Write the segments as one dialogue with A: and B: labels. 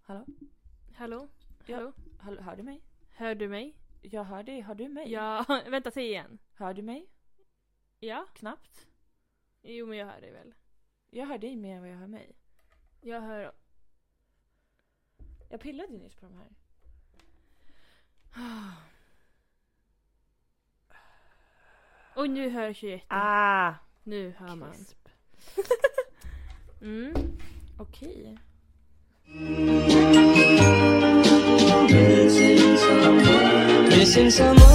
A: Hallå?
B: Hallå?
A: Ja. Hallå?
B: Hallå?
A: Hör du mig?
B: Hör du mig?
A: Jag hör dig. Hör du mig?
B: Ja, vänta, säg igen.
A: Hör du mig?
B: Ja?
A: Knappt.
B: Jo men jag hör dig väl.
A: Jag hör dig mer än vad jag hör mig.
B: Jag hör...
A: Jag pillade ju nyss på de här.
B: Och nu hörs ju jätte...
A: Ah!
B: Nu hör man.
A: Crisp.
B: Mm.
A: Okej.
C: Missing someone.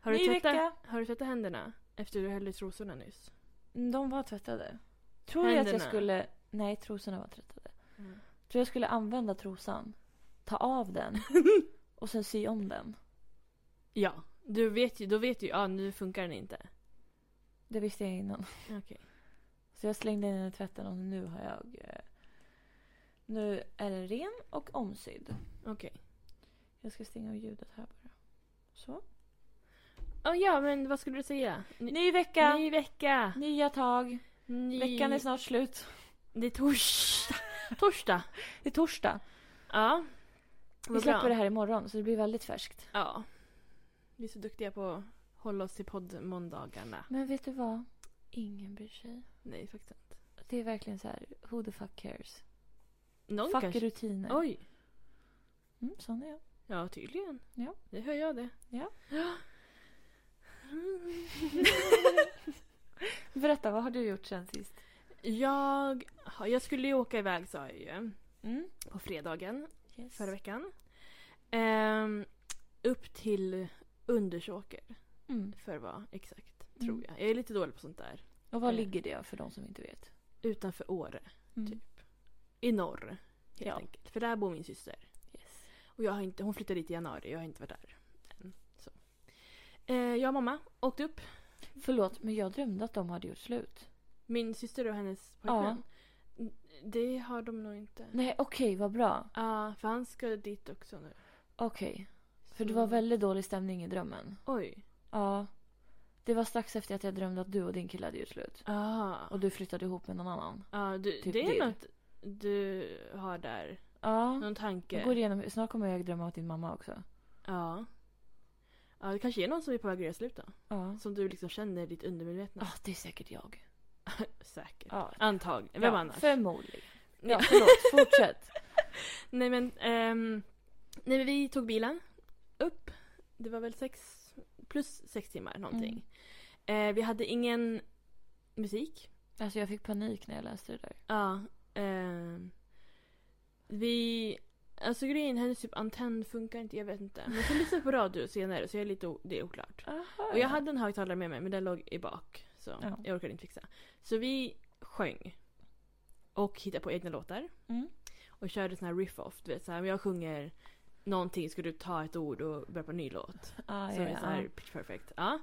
B: Har du,
A: Ny
B: tvättat,
A: vecka.
B: har du tvättat händerna? Efter du höll i trosorna nyss?
A: Mm, De var tvättade. Tror du att jag
B: Händerna?
A: skulle... Nej, trosorna var tvättade.
B: Mm.
A: Tror jag skulle använda trosan. Ta av den. Och sen sy om den.
B: Ja. Du vet ju, då vet du ju, ja nu funkar den inte.
A: Det visste jag innan.
B: Okej.
A: Så jag slängde in den i tvätten och nu har jag... eh, Nu är den ren och omsydd.
B: Okej.
A: Jag ska stänga av ljudet här bara. Så.
B: Oh, ja men vad skulle du säga? Ny,
A: Ny vecka!
B: ny vecka!
A: Nya tag.
B: Ny...
A: Veckan är snart slut.
B: Det är torsdag. torsdag.
A: Det är torsdag.
B: Ja.
A: Vi
B: Vad
A: släpper
B: bra.
A: det här imorgon så det blir väldigt färskt.
B: Ja. Vi är så duktiga på att hålla oss till poddmåndagarna.
A: Men vet du vad? Ingen bryr sig.
B: Nej faktiskt inte.
A: Det är verkligen så här, who the fuck cares?
B: Någon
A: fuck
B: kanske...
A: rutiner.
B: Oj.
A: Mm, sån är jag.
B: Ja tydligen.
A: Ja.
B: Det hör jag det.
A: Ja.
B: Ja.
A: Berätta, vad har du gjort sen sist?
B: Jag, jag skulle ju åka iväg sa jag ju.
A: Mm.
B: På fredagen
A: Yes.
B: förra veckan. Ehm, upp till Undersåker
A: Mm.
B: för att vara exakt.
A: Mm.
B: Tror jag. Jag är lite dålig på sånt där.
A: Och var
B: Eh.
A: ligger det för de som inte vet?
B: Utanför Åre.
A: Mm.
B: Typ. I norr. Helt
A: Ja.
B: enkelt. För där bor min syster.
A: Yes.
B: Och jag har inte, hon flyttade dit i januari jag har inte varit där än. Så. Eh, jag och mamma åkte upp.
A: Förlåt, men jag drömde att de hade gjort slut.
B: Min syster och hennes pojkvän. Det har de nog inte. Ja,
A: Nej, okej, vad bra.
B: för han ska dit också nu.
A: Okej. För det
B: Så-
A: var väldigt dålig stämning i drömmen.
B: Oj.
A: Ja. Det var strax efter att jag drömde att du och din kille hade gjort slut.
B: Ah.
A: Och du flyttade ihop med någon annan.
B: Ja, du,
A: Typ
B: det
A: det.
B: är något du har där.
A: Ja.
B: Någon tanke.
A: Jag går igenom, snart kommer jag drömma om din mamma också.
B: Ja. Ja, det kanske är någon som är på väg att göra slut då.
A: Ja.
B: Som du liksom känner i ditt undermedvetna.
A: Ja, det är säkert jag.
B: Säkert.
A: Ja.
B: Antagligen. Vem
A: ja,
B: annars?
A: Förmodligen. Ja,
B: Ja.
A: förlåt. Fortsätt.
B: Nej men, ehm, nej, men vi tog bilen upp. Det var väl sex, plus sex timmar någonting.
A: Mm.
B: Eh, vi hade ingen musik.
A: Alltså jag fick panik när jag läste det där.
B: Ja. ehm, vi, alltså grejen, hennes typ antenn funkar inte, jag vet inte. Men jag kan lyssna på radio senare så jag är lite o- det är oklart.
A: Aha,
B: Och jag hade en högtalare med mig men den låg i bak. Så
A: Ja.
B: jag orkade inte fixa. Så vi sjöng. Och hittade på egna låtar.
A: Mm.
B: Och körde sån här riff-off. Du vet såhär, jag sjunger någonting ska du ta ett ord och börja på en ny låt.
A: Ah,
B: så
A: ja,
B: är det
A: ja.
B: så här pitch perfect. Ja.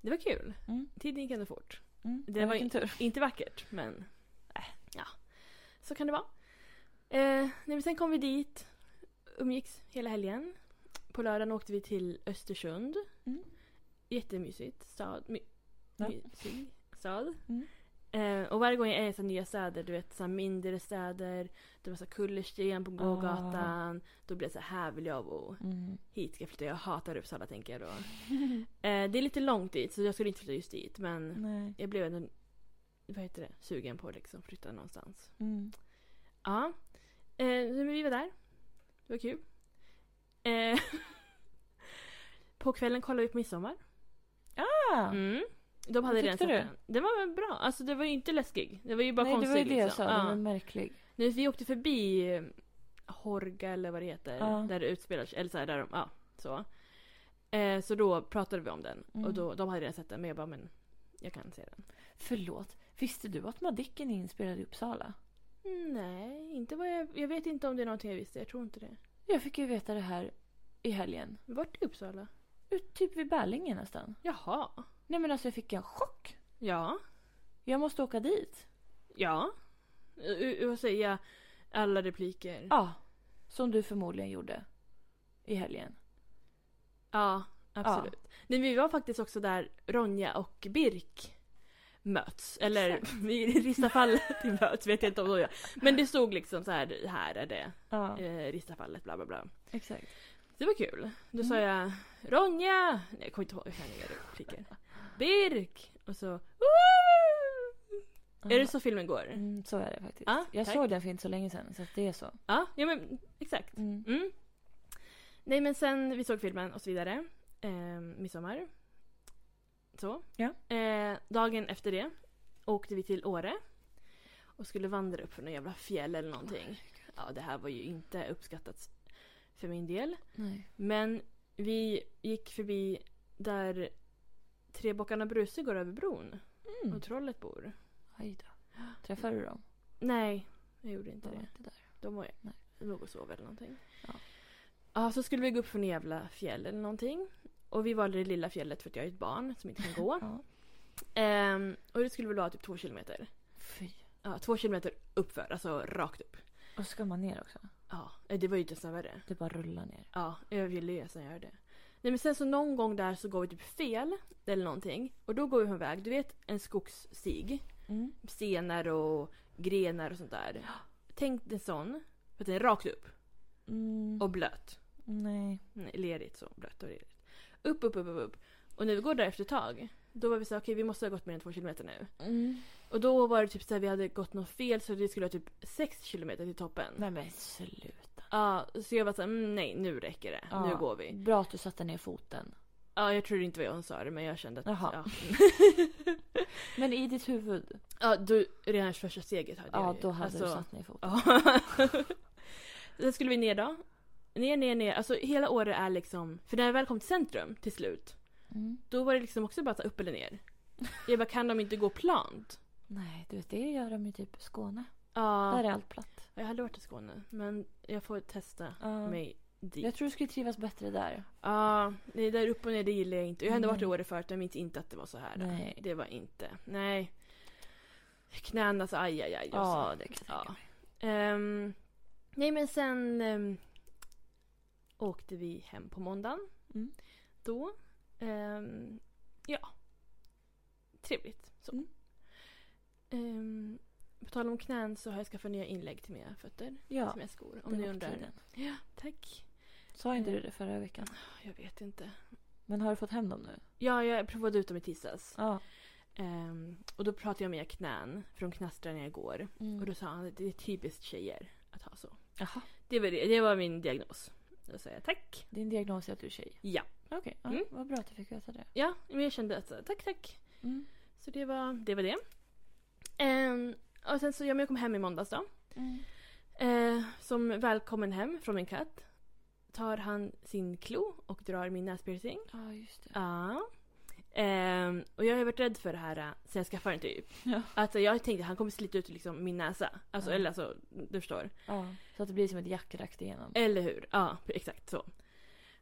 B: Det var kul.
A: Mm.
B: Tiden gick ändå fort.
A: Mm.
B: Det
A: Ja,
B: var
A: vilken
B: inte,
A: tur.
B: inte vackert men äh, ja. Så kan det vara. Eh, nej, men sen kom vi dit. Umgicks hela helgen. På lördagen åkte vi till Östersund.
A: Mm.
B: Jättemysigt. Stad, my,
A: Ja.
B: Mysig stad.
A: Mm.
B: Eh, och varje gång jag är i så här nya städer, du vet så här mindre städer, det var så här kullersten på gågatan.
A: Ah.
B: Då blir det så här, här vill jag bo.
A: Mm.
B: Hit ska jag flytta, jag hatar Uppsala tänker jag då. Eh, det är lite långt dit så jag skulle inte flytta just dit men
A: Nej.
B: jag blev ändå, vad heter det, sugen på att liksom flytta någonstans.
A: Mm.
B: Ja. Eh, men vi var där. Det var kul. Eh, på kvällen kollade vi på midsommar.
A: Ah,
B: Mm. De hade
A: Vad
B: redan
A: tyckte du?
B: sett den. Den var väl bra. Alltså det var ju inte läskig. Det var ju bara
A: Nej, det
B: konstig.
A: var ju det jag
B: liksom.
A: sa. Den var
B: Ja.
A: märklig.
B: Nej, vi åkte förbi eh, Horga eller vad det heter.
A: Ja.
B: Där det utspelar sig. Eller så här, där de, ja, så. Eh, så då pratade vi om den.
A: Mm.
B: Och då, de hade redan sett den men jag bara men jag kan se den.
A: Förlåt. Visste du att Madicken är inspelad i Uppsala?
B: Nej, inte vad jag, jag vet inte om det är någonting jag visste. Jag tror inte det.
A: Jag fick ju veta det här i helgen.
B: Vart i Uppsala?
A: Ut typ vid Bärlingen nästan.
B: Jaha.
A: Nej men alltså jag fick en chock.
B: Ja.
A: Jag måste åka dit.
B: Ja. U- u- Vad säger jag? Alla repliker.
A: Ja. Som du förmodligen gjorde. I helgen.
B: Ja, absolut. Nej, vi var faktiskt också där, Ronja och Birk möts. Eller i Ristafallet i möts vet jag inte om de gör. Men det stod liksom så här, här är det
A: Ja,
B: eh, Ristafallet bla bla bla.
A: exakt.
B: Det var kul. Då sa
A: Mm.
B: jag Ronja! Nej jag kommer inte ihåg hur jag gjorde repliker. Birk! Och så Woo! Är det så filmen går?
A: Mm, så är det faktiskt.
B: Ja,
A: jag
B: tack.
A: såg den för inte så länge sedan så att det är så.
B: Ja, ja men exakt.
A: Mm.
B: Mm. Nej men sen vi såg filmen och så vidare. Eh, midsommar. Så.
A: Ja.
B: Eh, dagen efter det åkte vi till Åre. Och skulle vandra upp för någon jävla fjäll eller
A: Oh
B: någonting. Ja, det här var ju inte uppskattat för min del.
A: Nej.
B: Men vi gick förbi där Trebockarna Bruse går över bron
A: Mm.
B: och trollet bor.
A: Oj då. Träffade du dem?
B: Nej, jag gjorde inte
A: De var
B: det.
A: inte där.
B: De var
A: Nej.
B: låg och sov eller någonting.
A: Ja.
B: Ja. så skulle vi gå upp för en jävla fjäll eller någonting. Och vi valde det lilla fjället för att jag är ett barn som inte kan gå.
A: Ja.
B: Ehm, och det skulle väl vara typ två kilometer.
A: Fy.
B: Ja, två kilometer uppför, alltså rakt upp.
A: Och så ska man ner också.
B: Ja, det var ju inte ens värre.
A: Det bara rullar ner.
B: Ja, jag ville ju nästan göra det. Nej men sen så någon gång där så går vi typ fel eller någonting. Och då går vi på en väg, du vet en skogsstig.
A: Mm.
B: Stenar och grenar och sånt där. Tänk dig en sån, för att den är rakt upp
A: Mm.
B: och blöt.
A: Nej.
B: Nej, lerigt så, blött och lerigt. Upp, upp, upp, upp, upp. Och när vi går där efter ett tag, då var vi så här, okej vi måste ha gått mer än två kilometer nu.
A: Mm.
B: Och då var det typ så här, vi hade gått något fel så vi skulle ha typ sex kilometer till toppen.
A: Nej men sluta.
B: Ja, så jag var såhär, mm, nej nu räcker det.
A: Ja.
B: Nu går vi.
A: Bra att du satte ner foten.
B: Ja, jag tror det inte var jag som sa det men jag kände att...
A: Jaha.
B: Ja,
A: Men i ditt huvud?
B: ja du, redan första steget hade jag
A: Ja,
B: ju.
A: då hade du
B: Alltså,
A: satt ner foten.
B: Ja. Sen skulle vi ner då. Ner, ner, ner. Alltså hela året är liksom... För när jag väl kom till centrum till slut,
A: Mm.
B: då var det liksom också bara så här, upp eller ner. Jag bara, kan de inte gå plant?
A: Nej, du vet det gör de ju typ i Skåne. Där
B: Ja.
A: är allt platt.
B: Jag har aldrig varit i Skåne, men jag får testa
A: Ja.
B: mig dit.
A: Jag tror du skulle trivas bättre där.
B: Ja, det där upp och ner det gillar jag inte. Jag har ändå varit i
A: Nej.
B: Åre förut, jag minns inte att det var så här.
A: Mm. Nej.
B: Det var inte. Nej. Knäna så aj, aj, aj. och
A: Ja,
B: så.
A: det kan jag tänka mig.
B: Ehm, nej men sen ehm, åkte vi hem på måndagen.
A: Mm.
B: Då. ehm, ja. Trevligt. Så.
A: Mm.
B: Ehm, på tal om knän så har jag skaffat nya inlägg till mina fötter.
A: Ja,
B: Som jag skor.
A: det
B: Om ni
A: var på
B: undrar.
A: tiden.
B: Ja, tack.
A: Sa inte du det förra veckan?
B: Jag vet inte.
A: Men har du fått hem dem nu?
B: Ja, jag provade ut dem i tisdags.
A: Ja.
B: Ehm, och då pratade jag med mina knän, för de knastrade när jag går.
A: Mm.
B: Och då sa han att det är typiskt tjejer att ha så.
A: Jaha,
B: Det var, det, det var min diagnos. Då sa jag tack.
A: din diagnos är att du är tjej?
B: Ja.
A: Okej, ja,
B: Mm.
A: vad bra att du fick veta det.
B: Ja, men jag kände att så här, tack, tack.
A: Mm.
B: Så det var det. Var det. Ehm, och sen så, ja, men jag kom hem i måndags då.
A: Mm.
B: Eh, som välkommen hem från min katt tar han sin klo och drar min näspiercing.
A: Ja, just det.
B: Ja. Ehm, och jag har ju varit rädd för det här eh, sen jag skaffade den typ.
A: Ja.
B: Alltså jag tänkte att han kommer slita ut liksom min näsa. Alltså,
A: Ja.
B: eller alltså, du förstår.
A: Ja, Mm. så att det blir som ett jack rakt igenom.
B: Eller hur? Ja, exakt så.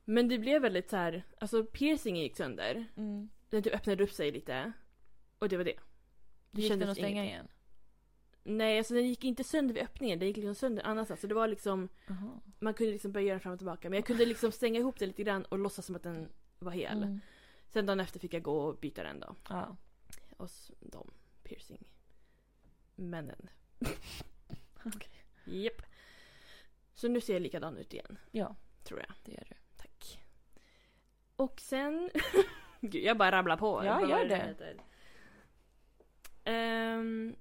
B: Men det blev väldigt så här, alltså piercingen gick sönder.
A: Mm.
B: Den typ öppnade upp sig lite. Och det var det.
A: Det Gick
B: kändes
A: den att stänga
B: ingenting.
A: igen?
B: Nej, alltså den gick inte sönder vid öppningen. Den gick liksom sönder annanstans. Så det var liksom,
A: Jaha.
B: man kunde liksom böja den fram och tillbaka. Men jag kunde liksom stänga ihop den lite grann och låtsas som att den var hel.
A: Mm.
B: Sen dagen efter fick jag gå och byta den då.
A: Ja.
B: Hos de piercing männen.
A: Okej.
B: Japp. Så nu ser jag likadan ut igen,
A: ja,
B: tror jag.
A: det gör du.
B: Tack. Och sen... Gud, jag bara rabblar på.
A: Ja,
B: Vad var
A: gör det.
B: heter? Ehm,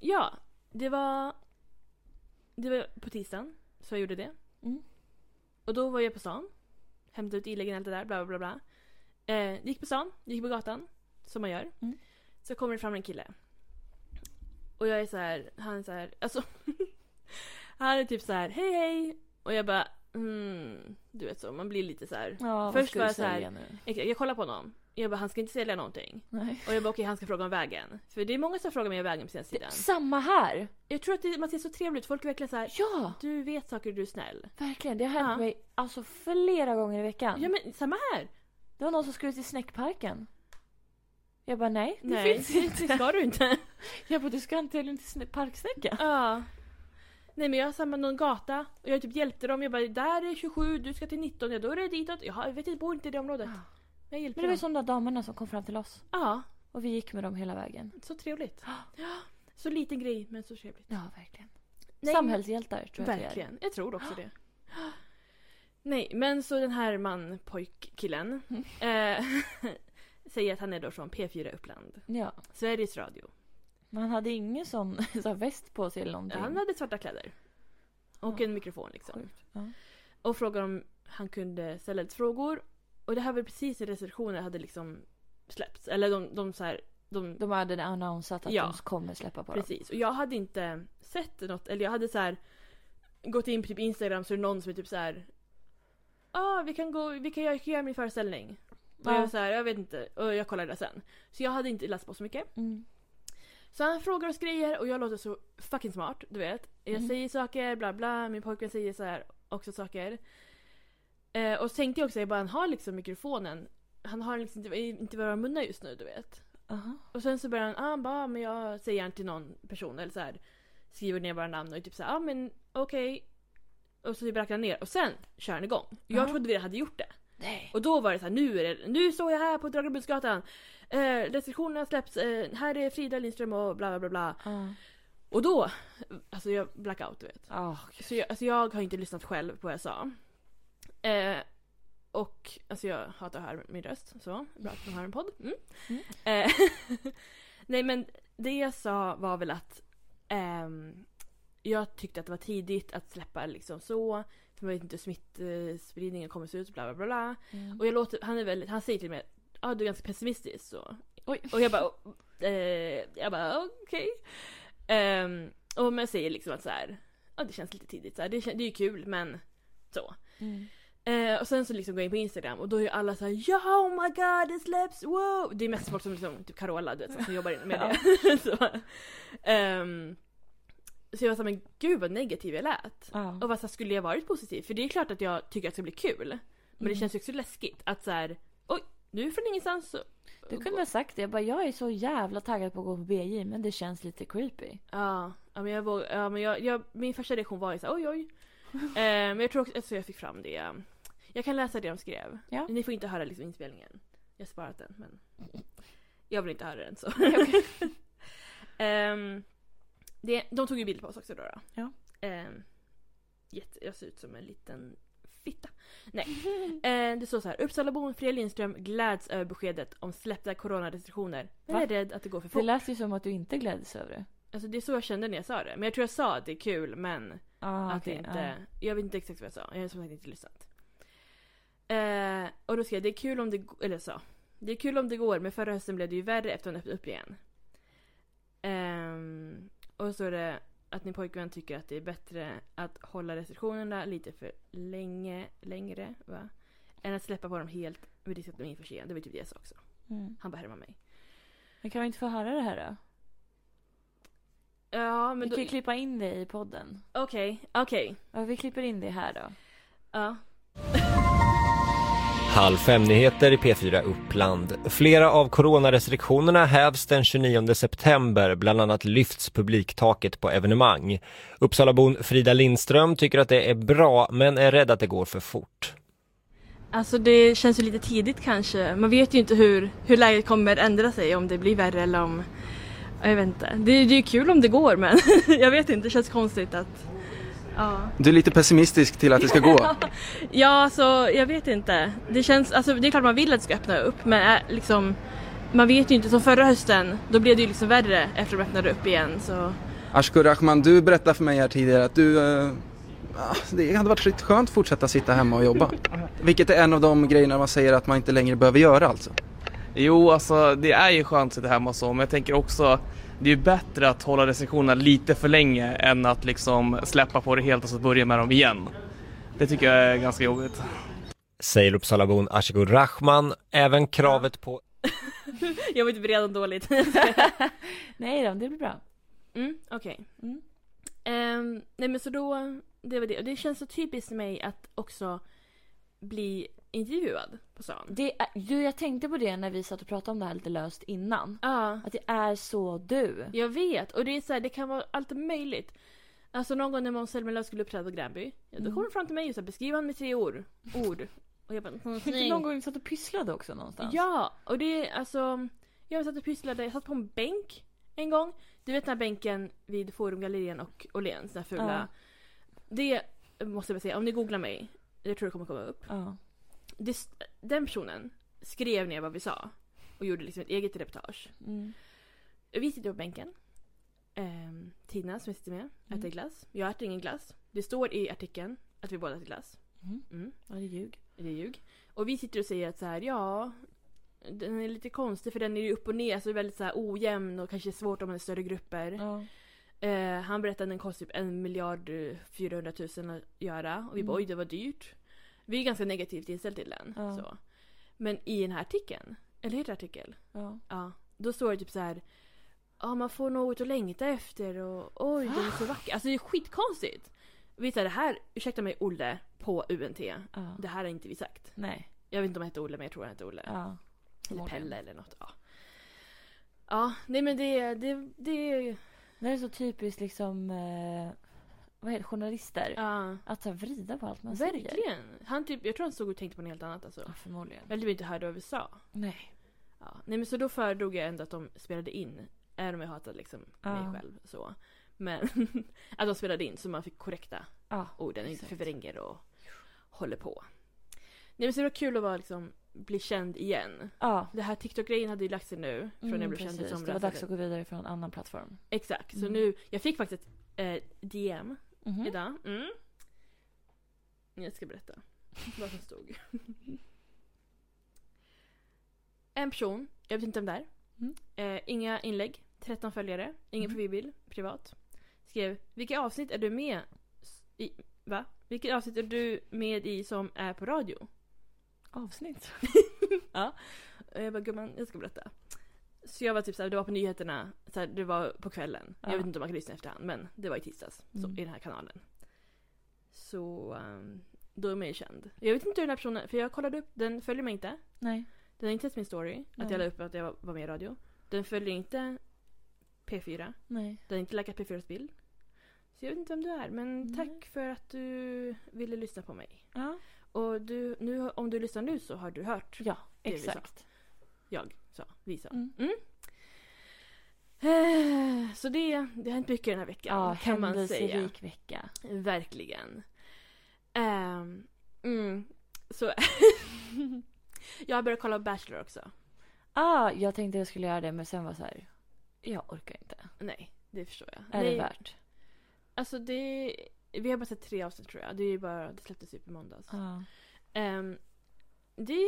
B: ja, det var... Det var på tisdagen, så jag gjorde det.
A: Mm.
B: Och då var jag på stan. Hämtade ut inläggen och allt det där, bla bla bla. bla. Eh, gick på stan, gick på gatan. Som man gör.
A: Mm.
B: Så kommer det fram en kille. Och jag är så här, han är så här, alltså. han är typ så här, hej hej. Och jag bara, mm, du vet så, man blir lite så här.
A: Ja,
B: Först var
A: vad
B: jag så
A: ska du
B: här-
A: säga nu?
B: Jag, jag kollar på honom. Jag bara, han ska inte sälja någonting.
A: Nej.
B: Och jag bara, okej han ska fråga om vägen. För det är många som frågar mig om vägen på senaste tiden.
A: Samma här!
B: Jag tror att det, man ser så trevlig ut, folk är verkligen så här,
A: Ja,
B: du vet saker, du är snäll.
A: verkligen. Det har hänt
B: Ja.
A: mig alltså, flera gånger i veckan.
B: Ja men samma här.
A: Det var någon som skulle till Snäckparken. Jag bara nej, det
B: Nej,
A: finns inte.
B: Det ska du inte.
A: Jag bara du ska antagligen till snä- parksnäckan.
B: Ja. Nej men jag har samma någon gata och jag typ hjälpte dem. Jag bara där är 27, du ska till 19, ja då är det ditåt. Jag har- jag vet inte, jag bor inte i det området. Men jag hjälpte
A: Men det var ju
B: dem.
A: som de där damerna som kom fram till oss.
B: Ja.
A: Och vi gick med dem hela vägen.
B: Så trevligt. Ja, så liten grej men så trevligt.
A: Ja, verkligen.
B: Nej,
A: Samhällshjältar tror jag att vi är.
B: Verkligen. Jag tror också det. Nej, men så den här man, pojk, killen eh, säger att han är då från P4 Uppland.
A: Ja.
B: Sveriges Radio.
A: Men han hade ingen sån så här väst på sig eller någonting.
B: Han hade svarta kläder. Och
A: Ja.
B: en mikrofon liksom.
A: Sjukt. Ja.
B: Och frågade om han kunde ställa lite frågor. Och det här var precis när recensioner hade liksom släppts. Eller de, de så här, de,
A: De hade annonsat att
B: Ja.
A: de kommer släppa på dem.
B: Precis. Och jag hade inte sett något. Eller jag hade så här gått in på typ Instagram så är det någon som är typ så här. Ja, ah, vi kan gå, vi kan göra, jag kan göra min föreställning. Och jag var
A: Ja.
B: så här, jag vet inte. Och jag kollade det sen. Så jag hade inte läst på så mycket.
A: Mm.
B: Så han frågar oss grejer och jag låter så fucking smart, du vet. Jag
A: Mm.
B: säger saker, bla bla, min pojkvän säger så här också saker. Eh, och så tänkte jag också, jag bara, han har liksom mikrofonen. Han har liksom inte, inte våra munnar just nu, du vet.
A: Aha.
B: Och sen så börjar han, ah, han bara, ah, men jag säger inte till någon person eller så här. Skriver ner våra namn och typ så här, ah, men okej. Och så typ räknar han ner och sen kör han igång. Jag
A: Aha.
B: trodde vi hade gjort det.
A: Nej.
B: Och då var det så här, nu, är det, nu står jag här på Dragelbundsgatan. Eh, restriktionerna släpps, eh, här är Frida Lindström och bla bla bla bla.
A: Ja.
B: Och då, alltså jag blackout du vet.
A: Ah,
B: Så jag, alltså jag har inte lyssnat själv på vad jag sa. Eh, och alltså jag hatar att höra min röst, så bra att man har en podd. Mm.
A: Mm.
B: Eh, nej men det jag sa var väl att ehm, jag tyckte att det var tidigt att släppa liksom så. För man vet inte hur smittspridningen kommer se ut, bla bla bla. bla.
A: Mm.
B: Och jag låter, han, är väldigt, han säger till mig att ah, du är ganska pessimistisk. Så.
A: Oj.
B: Och jag bara, "Oh, eh, jag bara okej. Ehm, och man säger liksom att så här, ja det känns lite tidigt, så här, det, kän- det är ju kul men så.
A: Mm.
B: Eh, och sen så liksom går jag in på Instagram och då är ju alla så här ja oh my god det släpps, wow! Det är mest folk som liksom, typ Carola du vet, så här, som jobbar inom med det. så, ehm, så jag var såhär men gud vad negativ jag lät.
A: Ja.
B: Och vad så här, skulle jag varit positiv? För det är klart att jag tycker att det ska bli kul. Men det
A: Mm.
B: känns ju också läskigt att så här, oj, nu från ingenstans så...
A: Du kunde ha sagt det. Jag bara, jag är så jävla taggad på att gå på BJ men det känns lite creepy.
B: Ja, ja men, jag, våg- ja, men jag, jag, min första reaktion var ju såhär oj oj. eh, men jag tror också att jag fick fram det. eh, Jag kan läsa det de skrev.
A: Ja.
B: Ni får inte höra liksom inspelningen. Jag har sparat den men jag vill inte höra den så. Ehm, det, de tog ju bild på oss också då. då.
A: Ja.
B: Ehm, jätte, jag ser ut som en liten fitta. Nej. Eh, det står så här. Uppsalabon Freja Lindström gläds över beskedet om släppta coronarestriktioner. Men
A: Va?
B: är rädd att det går för
A: Det
B: fort.
A: lät ju som att du inte gläds över det.
B: Alltså det är så jag kände när jag sa det. Men jag tror jag sa att det är kul men
A: Ah,
B: att det
A: okej,
B: inte... Jag vet inte exakt vad jag sa. Jag har som sagt inte lyssnat. Eh, och då skrev jag det är kul om det g- Eller jag sa. Det är kul om det går men förra hösten blev det ju värre efter hon öppnade upp igen. Ehm, och så står det att min pojkvän tycker att det är bättre att hålla restriktionerna lite för länge, längre va? Än att släppa på dem helt med risk att de är för sent. Det var typ det jag sa också.
A: ja. Mm.
B: Han bara härmar mig.
A: Men kan vi inte få höra det här då?
B: Ja men
A: vi
B: då...
A: kan ju
B: Okej,
A: klippa in det i podden.
B: okej.
A: Ja, vi klipper in det här då.
B: Ja.
C: Halv fem-nyheter i P4 Uppland. Flera av coronarestriktionerna hävs den 29 september. Bland annat lyfts publiktaket på evenemang. Uppsalabon Frida Lindström tycker att det är bra men är rädd att det går för fort.
B: Alltså det känns ju lite tidigt kanske. Man vet ju inte hur, hur läget kommer ändra sig, om det blir värre eller om... ja, Jag vet inte. Det, är- det är ju kul om det går men jag vet inte, det känns konstigt att... Ja.
D: Du är lite pessimistisk till att det ska gå.
B: Ja, alltså jag vet inte. Det känns, alltså det är klart man vill att det ska öppna upp men äh, liksom... Man vet ju inte, som förra hösten, då blev det ju liksom värre efter att de öppnade upp igen så...
D: Ashkur Rahman, du berättade för mig här tidigare att du... eh, ah, det hade varit skit- skönt att fortsätta sitta hemma och jobba. Vilket är en av de grejerna man säger att man inte längre behöver göra alltså.
E: Jo, alltså det är ju skönt att sitta hemma och så, men jag tänker också det är ju bättre att hålla restriktionerna lite för länge än att liksom släppa på det helt och så börja med dem igen. Det tycker jag är ganska jobbigt.
C: Säger Uppsalabon Ashikur Rahman. Även kravet på
B: Jag var inte beredd dåligt.
A: Nej då, det blir bra.
B: Mm, okej.
A: Mm.
B: Ehm, nej men så då, det var det. Och det känns så typiskt för mig att också bli intervjuad på stan.
A: Det är, du, jag tänkte på det när vi satt och pratade om det här lite löst innan.
B: Ja,
A: Att det är så du.
B: jag vet. Och det är så här, det kan vara allt möjligt. Alltså någon gång när Måns Zelmerlöw skulle uppträda på Gränby, ja, då
A: Mm.
B: kom de fram till mig och sa beskriv han med tre ord. ord. Och jag bara,
A: Fick du någon gång satt och pysslade också någonstans?
B: Ja, och det är alltså Jag satt och pysslade, jag satt på en bänk en gång. Du vet den här bänken vid Forumgallerian och Åhléns, den här fula. Det måste jag bara säga, om ni googlar mig, jag tror det kommer komma upp.
A: Ja.
B: Det, st- den personen skrev ner vad vi sa och gjorde liksom ett eget reportage.
A: Mm.
B: Vi sitter på bänken. Ehm, Tina som jag sitter med äter
A: Mm.
B: glass. Jag äter ingen glass. Det står i artikeln att vi båda äter glass.
A: Mm.
B: Mm.
A: Ja, det är ljug.
B: Det är ljug. Och vi sitter och säger att så här, ja, den är lite konstig för den är ju upp och ner så det är väldigt så här ojämn och kanske svårt om man är större grupper.
A: Ja.
B: Eh, han berättade att den kostar typ en miljard eh, 400 000 att göra och vi bara
A: Mm.
B: oj det var dyrt. Vi är ganska negativt inställda till den.
A: Ja.
B: Så. Men i den här artikeln, eller heter det artikel?
A: ja.
B: Ja. Då står det typ så här. Ja man får något att längta efter och oj den är så vacker. Alltså det är skitkonstigt. Vi säger det här, ursäkta mig Olle på UNT.
A: ja.
B: Det här har inte vi sagt.
A: Nej.
B: Jag vet inte om han hette Olle men jag tror han hette Olle.
A: Ja.
B: eller
A: förmodligen.
B: Pelle eller något. Ja. Ja, nej men det, det, det,
A: Det är så typiskt liksom, eh, vad heter det, journalister.
B: ja.
A: Att så här, vrida på allt man säger.
B: Verkligen. Han typ, jag tror han stod och tänkte på något helt annat alltså.
A: Ja, förmodligen.
B: Eller vi inte hörde vad vi sa.
A: Nej.
B: Ja. Nej men så då föredrog jag ändå att de spelade in. Även om jag hatade liksom
A: Ja.
B: mig själv så. Men att de spelade in så man fick korrekta
A: Ja.
B: orden, inte
A: Exakt.
B: förvränger och håller på. Nej men så det var kul att vara, liksom, bli känd igen.
A: Ja.
B: Det här TikTok-grejen hade ju lagt sig nu. Från när jag blev känd i
A: Mm, precis.
B: somras.
A: Det var dags att gå vidare från en annan plattform.
B: Exakt, så
A: Mm.
B: nu, jag fick faktiskt ett eh, DM
A: Mhm.
B: idag. Mm. Jag ska berätta vad som stod. en person, jag vet inte vem det är.
A: Mm.
B: Eh, inga inlägg, 13 följare, ingen
A: Mm.
B: profilbild, privat. Skrev Vilka avsnitt är du med s- i? Va? Vilket avsnitt är du med i som är på radio?
A: Avsnitt.
B: Och jag bara gumman, jag ska berätta. Så jag var typ såhär, det var på nyheterna, såhär, det var på kvällen.
A: Ja.
B: Jag vet inte om man kan lyssna i efterhand men det var i tisdags så,
A: Mm.
B: i den här kanalen. Så ehm, då är man ju känd. Jag vet inte hur den här personen, för jag kollade upp, den följer mig inte.
A: Nej.
B: Den har inte sett min story, att
A: Nej.
B: jag la upp att jag var- var med i radio. Den följer inte P4.
A: Nej.
B: Den har inte likat P4s bild. Så jag vet inte vem du är men
A: Nej.
B: tack för att du ville lyssna på mig.
A: Ja.
B: Och du, nu, om du lyssnar nu så har du hört
A: Ja,
B: Det är vi sa.
A: exakt.
B: jag sa, vi sa.
A: Mm.
B: Eh, Så det, det har hänt mycket den här veckan
A: Ja,
B: kan man säga.
A: händelserik vecka.
B: Verkligen. Ehm, mm, så jag har börjat kolla på Bachelor också.
A: Ah, jag tänkte jag skulle göra det men sen var så här. Jag orkar inte.
B: Nej, det förstår jag.
A: Är
B: Nej,
A: det värt?
B: Alltså det, vi har bara sett tre avsnitt tror jag. Det, är ju bara, det släpptes ju på måndags.
A: Ja.
B: Ehm, det är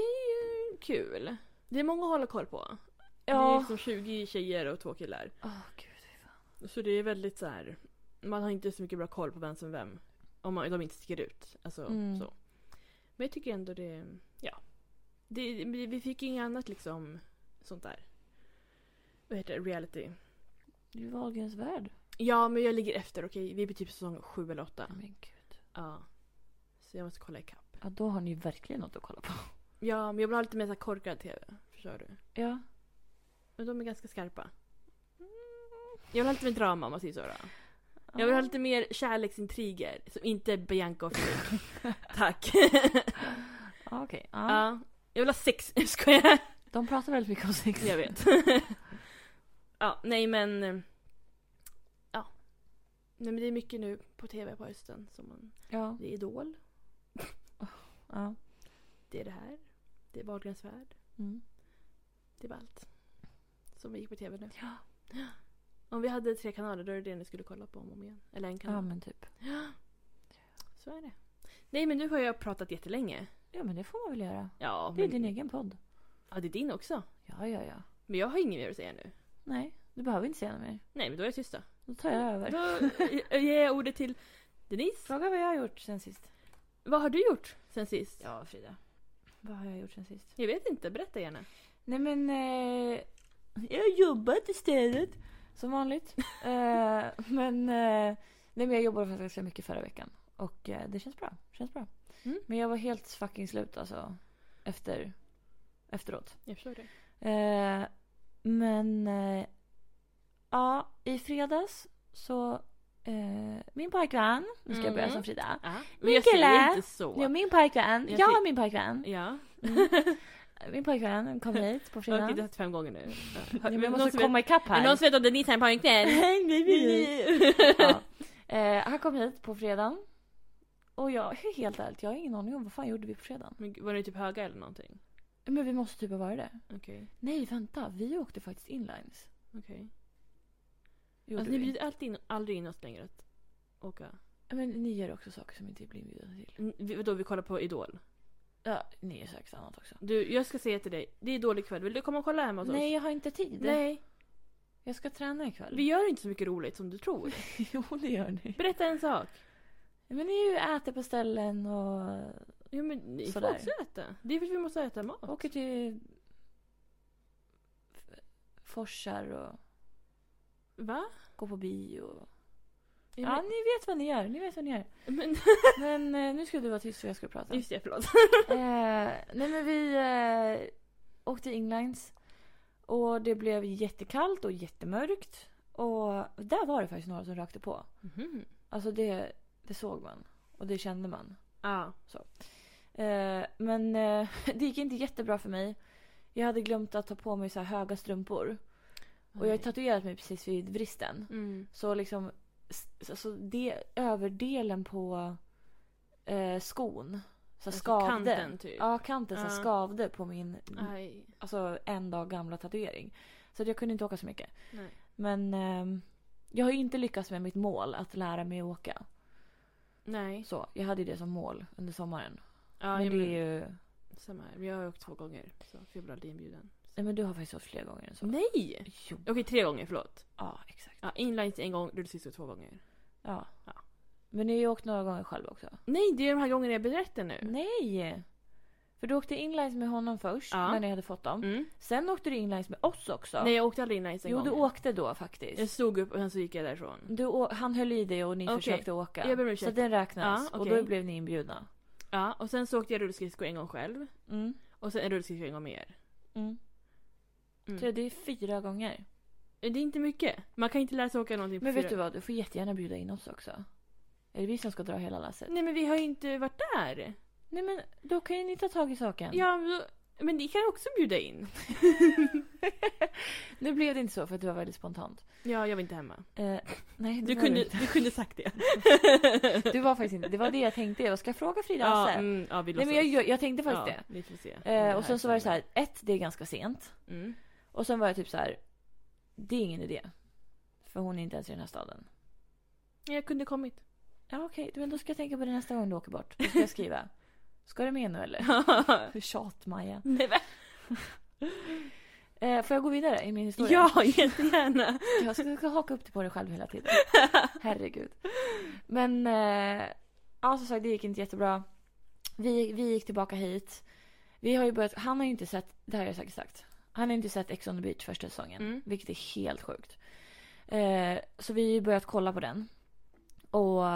B: ju kul. Det är många att hålla koll på. Det är
A: Ja.
B: liksom 20 tjejer och två killar.
A: Åh, gud.
B: Så det är väldigt så här. Man har inte så mycket bra koll på vem som vem. Om man, de inte sticker ut. Alltså,
A: Mm.
B: så. Men jag tycker ändå det... Ja. Det, vi vi fick inget annat liksom sånt där. Vad heter det? Reality.
A: Du är Wahlgrens värld.
B: Ja, men jag ligger efter. Okej, vi är på typ säsong sju eller åtta.
A: Nej, Men gud.
B: Ja. Så jag måste kolla ikapp.
A: Ja, då har ni ju verkligen något att kolla på.
B: Ja, men jag vill ha lite mer så här korkad tv. Förstår du?
A: Ja.
B: Men de är ganska skarpa.
A: Mm.
B: Jag vill ha lite mer drama om man säger så då. Jag vill ha lite mer kärleksintriger som inte är Bianca och Filip. Tack.
A: Ja, Okej. Ja.
B: ja. Jag vill ha sex. Jag skojar.
A: De pratar väldigt mycket om sex.
B: Jag vet. ja, nej men. eh, Ja. Nej men det är mycket nu på tv på hösten. Som man,
A: Ja.
B: det är Idol.
A: ja.
B: Det är det här. Det är Wahlgrens värld.
A: Mm.
B: Det var allt. Som vi gick på tv nu.
A: Ja.
B: Om vi hade tre kanaler då är det det ni skulle kolla på om och om igen. Eller en kanal.
A: ja, men typ.
B: Så är det. Nej men nu har jag pratat jättelänge.
A: Ja, men det får man väl göra.
B: Ja,
A: Det är
B: men,
A: din egen podd.
B: ja, det är din också.
A: Ja, ja, ja.
B: Men jag har inget mer att säga nu.
A: Nej, du behöver inte säga något mer.
B: Nej, men då är jag tyst då.
A: Då tar jag över.
B: Då eh, ger jag ordet till Denise.
A: Fråga vad jag har gjort sen sist.
B: Vad har du gjort sen sist?
A: Ja, Frida. Vad har jag gjort sen sist?
B: Jag vet inte, berätta gärna.
A: Nej men... Eh, jag har jobbat istället. Som vanligt. eh, men... Eh, nej men jag jobbade faktiskt ganska mycket förra veckan. Och eh, det känns bra. Känns bra.
B: Mm.
A: Men jag var helt fucking slut alltså. Efter... Efteråt.
B: Jag förstår det.
A: Eh, men... Eh, ja, i fredags så... Eh, min pojkvän. Nu ska jag börja
B: Mhm.
A: som Frida.
B: Men jag
A: Mikaela!
B: säger inte
A: Ja, Mm,
B: så.
A: min pojkvän. Jag
B: Jag Mm. ser-
A: har min pojkvän.
B: Ja.
A: min pojkvän kom hit på
B: Jag har
A: fredagen.
B: tittat fem gånger nu.
A: Ja, men
B: Är det
A: jag
B: någon
A: måste
B: som
A: komma ikapp
B: vet, är det
A: här.
B: någon som vet om det är ni som har en pojkvän?
A: Nej, nej, nej. ja. eh, han kom hit på fredagen. Och jag, helt ärligt, jag har ingen aning om vad fan gjorde vi på fredagen.
B: Men gud, Var ni typ höga eller någonting?
A: Men vi måste typ ha varit det.
B: Okej.
A: Nej, vänta. Vi åkte faktiskt inlines.
B: Okej.
A: Gjorde
B: Alltså, ni
A: vi.
B: bjuder alltid in, aldrig in oss längre att åka?
A: Men ni gör också saker som inte blir inbjudna till.
B: N- vi- Vadå, vi kollar på Idol?
A: Ja, ni gör säkert annat också.
B: Du, jag ska säga till dig, det är dålig kväll. Vill du komma och kolla hemma hos
A: Nej,
B: oss?
A: jag har inte tid.
B: Nej.
A: Jag ska träna ikväll.
B: Vi gör inte så mycket roligt som du tror.
A: jo, det gör ni.
B: Berätta en sak.
A: Men ni är ju äter på ställen och
B: Jo men ni
A: Sådär.
B: får också äta. Det är för att vi måste äta mat.
A: åker till f- forsar och
B: Va?
A: går på bio. och-
B: Ja,
A: Ja, ni vet vad ni gör. Ni vet vad ni gör.
B: men, men,
A: Men eh, nu ska du vara tyst för jag ska prata.
B: just det, förlåt.
A: Eh, nej men vi eh, åkte inlines och det blev jättekallt och jättemörkt. Och där var det faktiskt några som rökte på.
B: Mhm.
A: Alltså det, det såg man och det kände man.
B: Ja.
A: Eh, men eh, det gick inte jättebra för mig. Jag hade glömt att ta på mig så här höga strumpor. Och jag har tatuerat mig precis vid vristen.
B: Mm.
A: Så liksom s- alltså det, överdelen på eh, skon så här
B: Alltså
A: skavde.
B: kanten, typ.
A: Ja, kanten så här
B: Ja.
A: skavde på min
B: Aj.
A: alltså, en dag gamla tatuering. Så att jag kunde inte åka så mycket.
B: Nej.
A: Men ehm, jag har ju inte lyckats med mitt mål att lära mig att åka.
B: Nej.
A: Så, jag hade ju det som mål under sommaren.
B: Ja,
A: men
B: men,
A: det är ju...
B: Samma här. Jag har åkt två gånger. Så för jag blev aldrig inbjuden.
A: Nej men du har faktiskt åkt fler gånger än så.
B: Nej!
A: Jo.
B: Okej, tre gånger, förlåt.
A: Ja, exakt.
B: Ja, inlines en gång, rullskridskor två gånger.
A: Ja.
B: Ja.
A: Men ni har ju åkt några gånger själva också.
B: Nej, det är de här gångerna jag berättar nu.
A: Nej! För du åkte inlines med honom först,
B: Ja.
A: när ni hade fått dem.
B: Mm.
A: Sen åkte du inlines med oss också.
B: Nej, jag åkte aldrig inlines en
A: jo,
B: gång.
A: du åkte då faktiskt.
B: Jag stod upp och sen så gick jag därifrån.
A: Du, å- han höll i dig och ni
B: Okej.
A: försökte åka.
B: Jag ber om
A: så
B: ursäkt.
A: den räknas.
B: Ja,
A: Och
B: okej.
A: då blev ni inbjudna.
B: Ja, och sen så åkte jag rullskridskor en gång själv.
A: Mm.
B: Och sen en rullskridskor en gång med er.
A: Mm.
B: Mm.
A: Så det är fyra gånger.
B: Eh, Det är inte mycket. Man kan inte lära sig åka någonting på
A: Men vet
B: fyra-
A: du vad, du får jättegärna bjuda in oss också. Är det vi som ska dra hela lasset?
B: Nej men vi har ju inte varit där.
A: Nej men då kan ju ni ta tag i saken.
B: Ja, men då- men ni kan också bjuda in.
A: Nu blev det inte så för att det var väldigt spontant.
B: Ja, jag var inte hemma.
A: Eh, nej, det
B: Du
A: var
B: kunde,
A: inte.
B: du kunde sagt det.
A: Du var faktiskt inte. Det var det jag tänkte. Jag ska fråga Frida
B: ja,
A: Hasse.
B: mm, ja, vi
A: nej men jag, jag, jag tänkte faktiskt
B: ja, Vi får se.
A: det. Eh, och sen så var det så här, ett, det är ganska sent.
B: Mm.
A: Och sen var jag typ så här, det är ingen idé. För hon är inte ens i den här staden.
B: Jag kunde kommit.
A: Ja okej, men då ska jag tänka på det nästa gång du åker bort. Då ska jag skriva. Ska du med nu eller? Tjat-Maja.
B: Nej, va?
A: Eh, får jag gå vidare i min historia?
B: ja, jättegärna.
A: Jag ska, ska haka upp dig på dig själv hela tiden. Herregud. Men eh, ja, som sagt, det gick inte jättebra. Vi, vi gick tillbaka hit. Vi har ju börjat, han har ju inte sett, det här har jag säkert sagt. Han har inte sett Ex on the beach första säsongen.
B: Mm.
A: Vilket är helt sjukt. Eh, så vi har ju börjat kolla på den. Och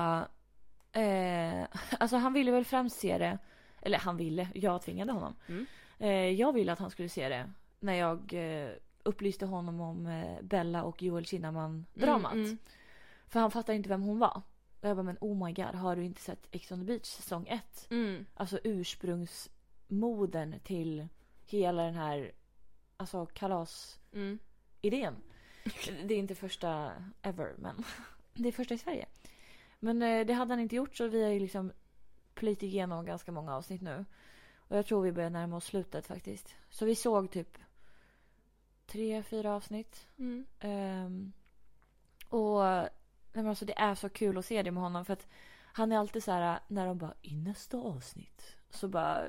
A: eh, alltså han ville väl främst se det. Eller han ville, jag tvingade honom.
B: Mm.
A: Eh, jag ville att han skulle se det när jag eh, upplyste honom om eh, Bella och Joel Kinnaman-dramat.
B: Mm, mm.
A: För han fattar inte vem hon var. Och jag bara men oh my god, har du inte sett Ex on the beach säsong 1?
B: Mm.
A: Alltså ursprungsmodern till hela den här alltså kalasidén.
B: Mm.
A: Det är inte första ever men det är första i Sverige. Men eh, det hade han inte gjort så vi har ju liksom plöjt igenom ganska många avsnitt nu. Och jag tror vi börjar närma oss slutet faktiskt. Så vi såg typ tre, fyra avsnitt.
B: Mm.
A: Ehm, och nej men alltså det är så kul att se det med honom för att han är alltid så här när de bara i nästa avsnitt så bara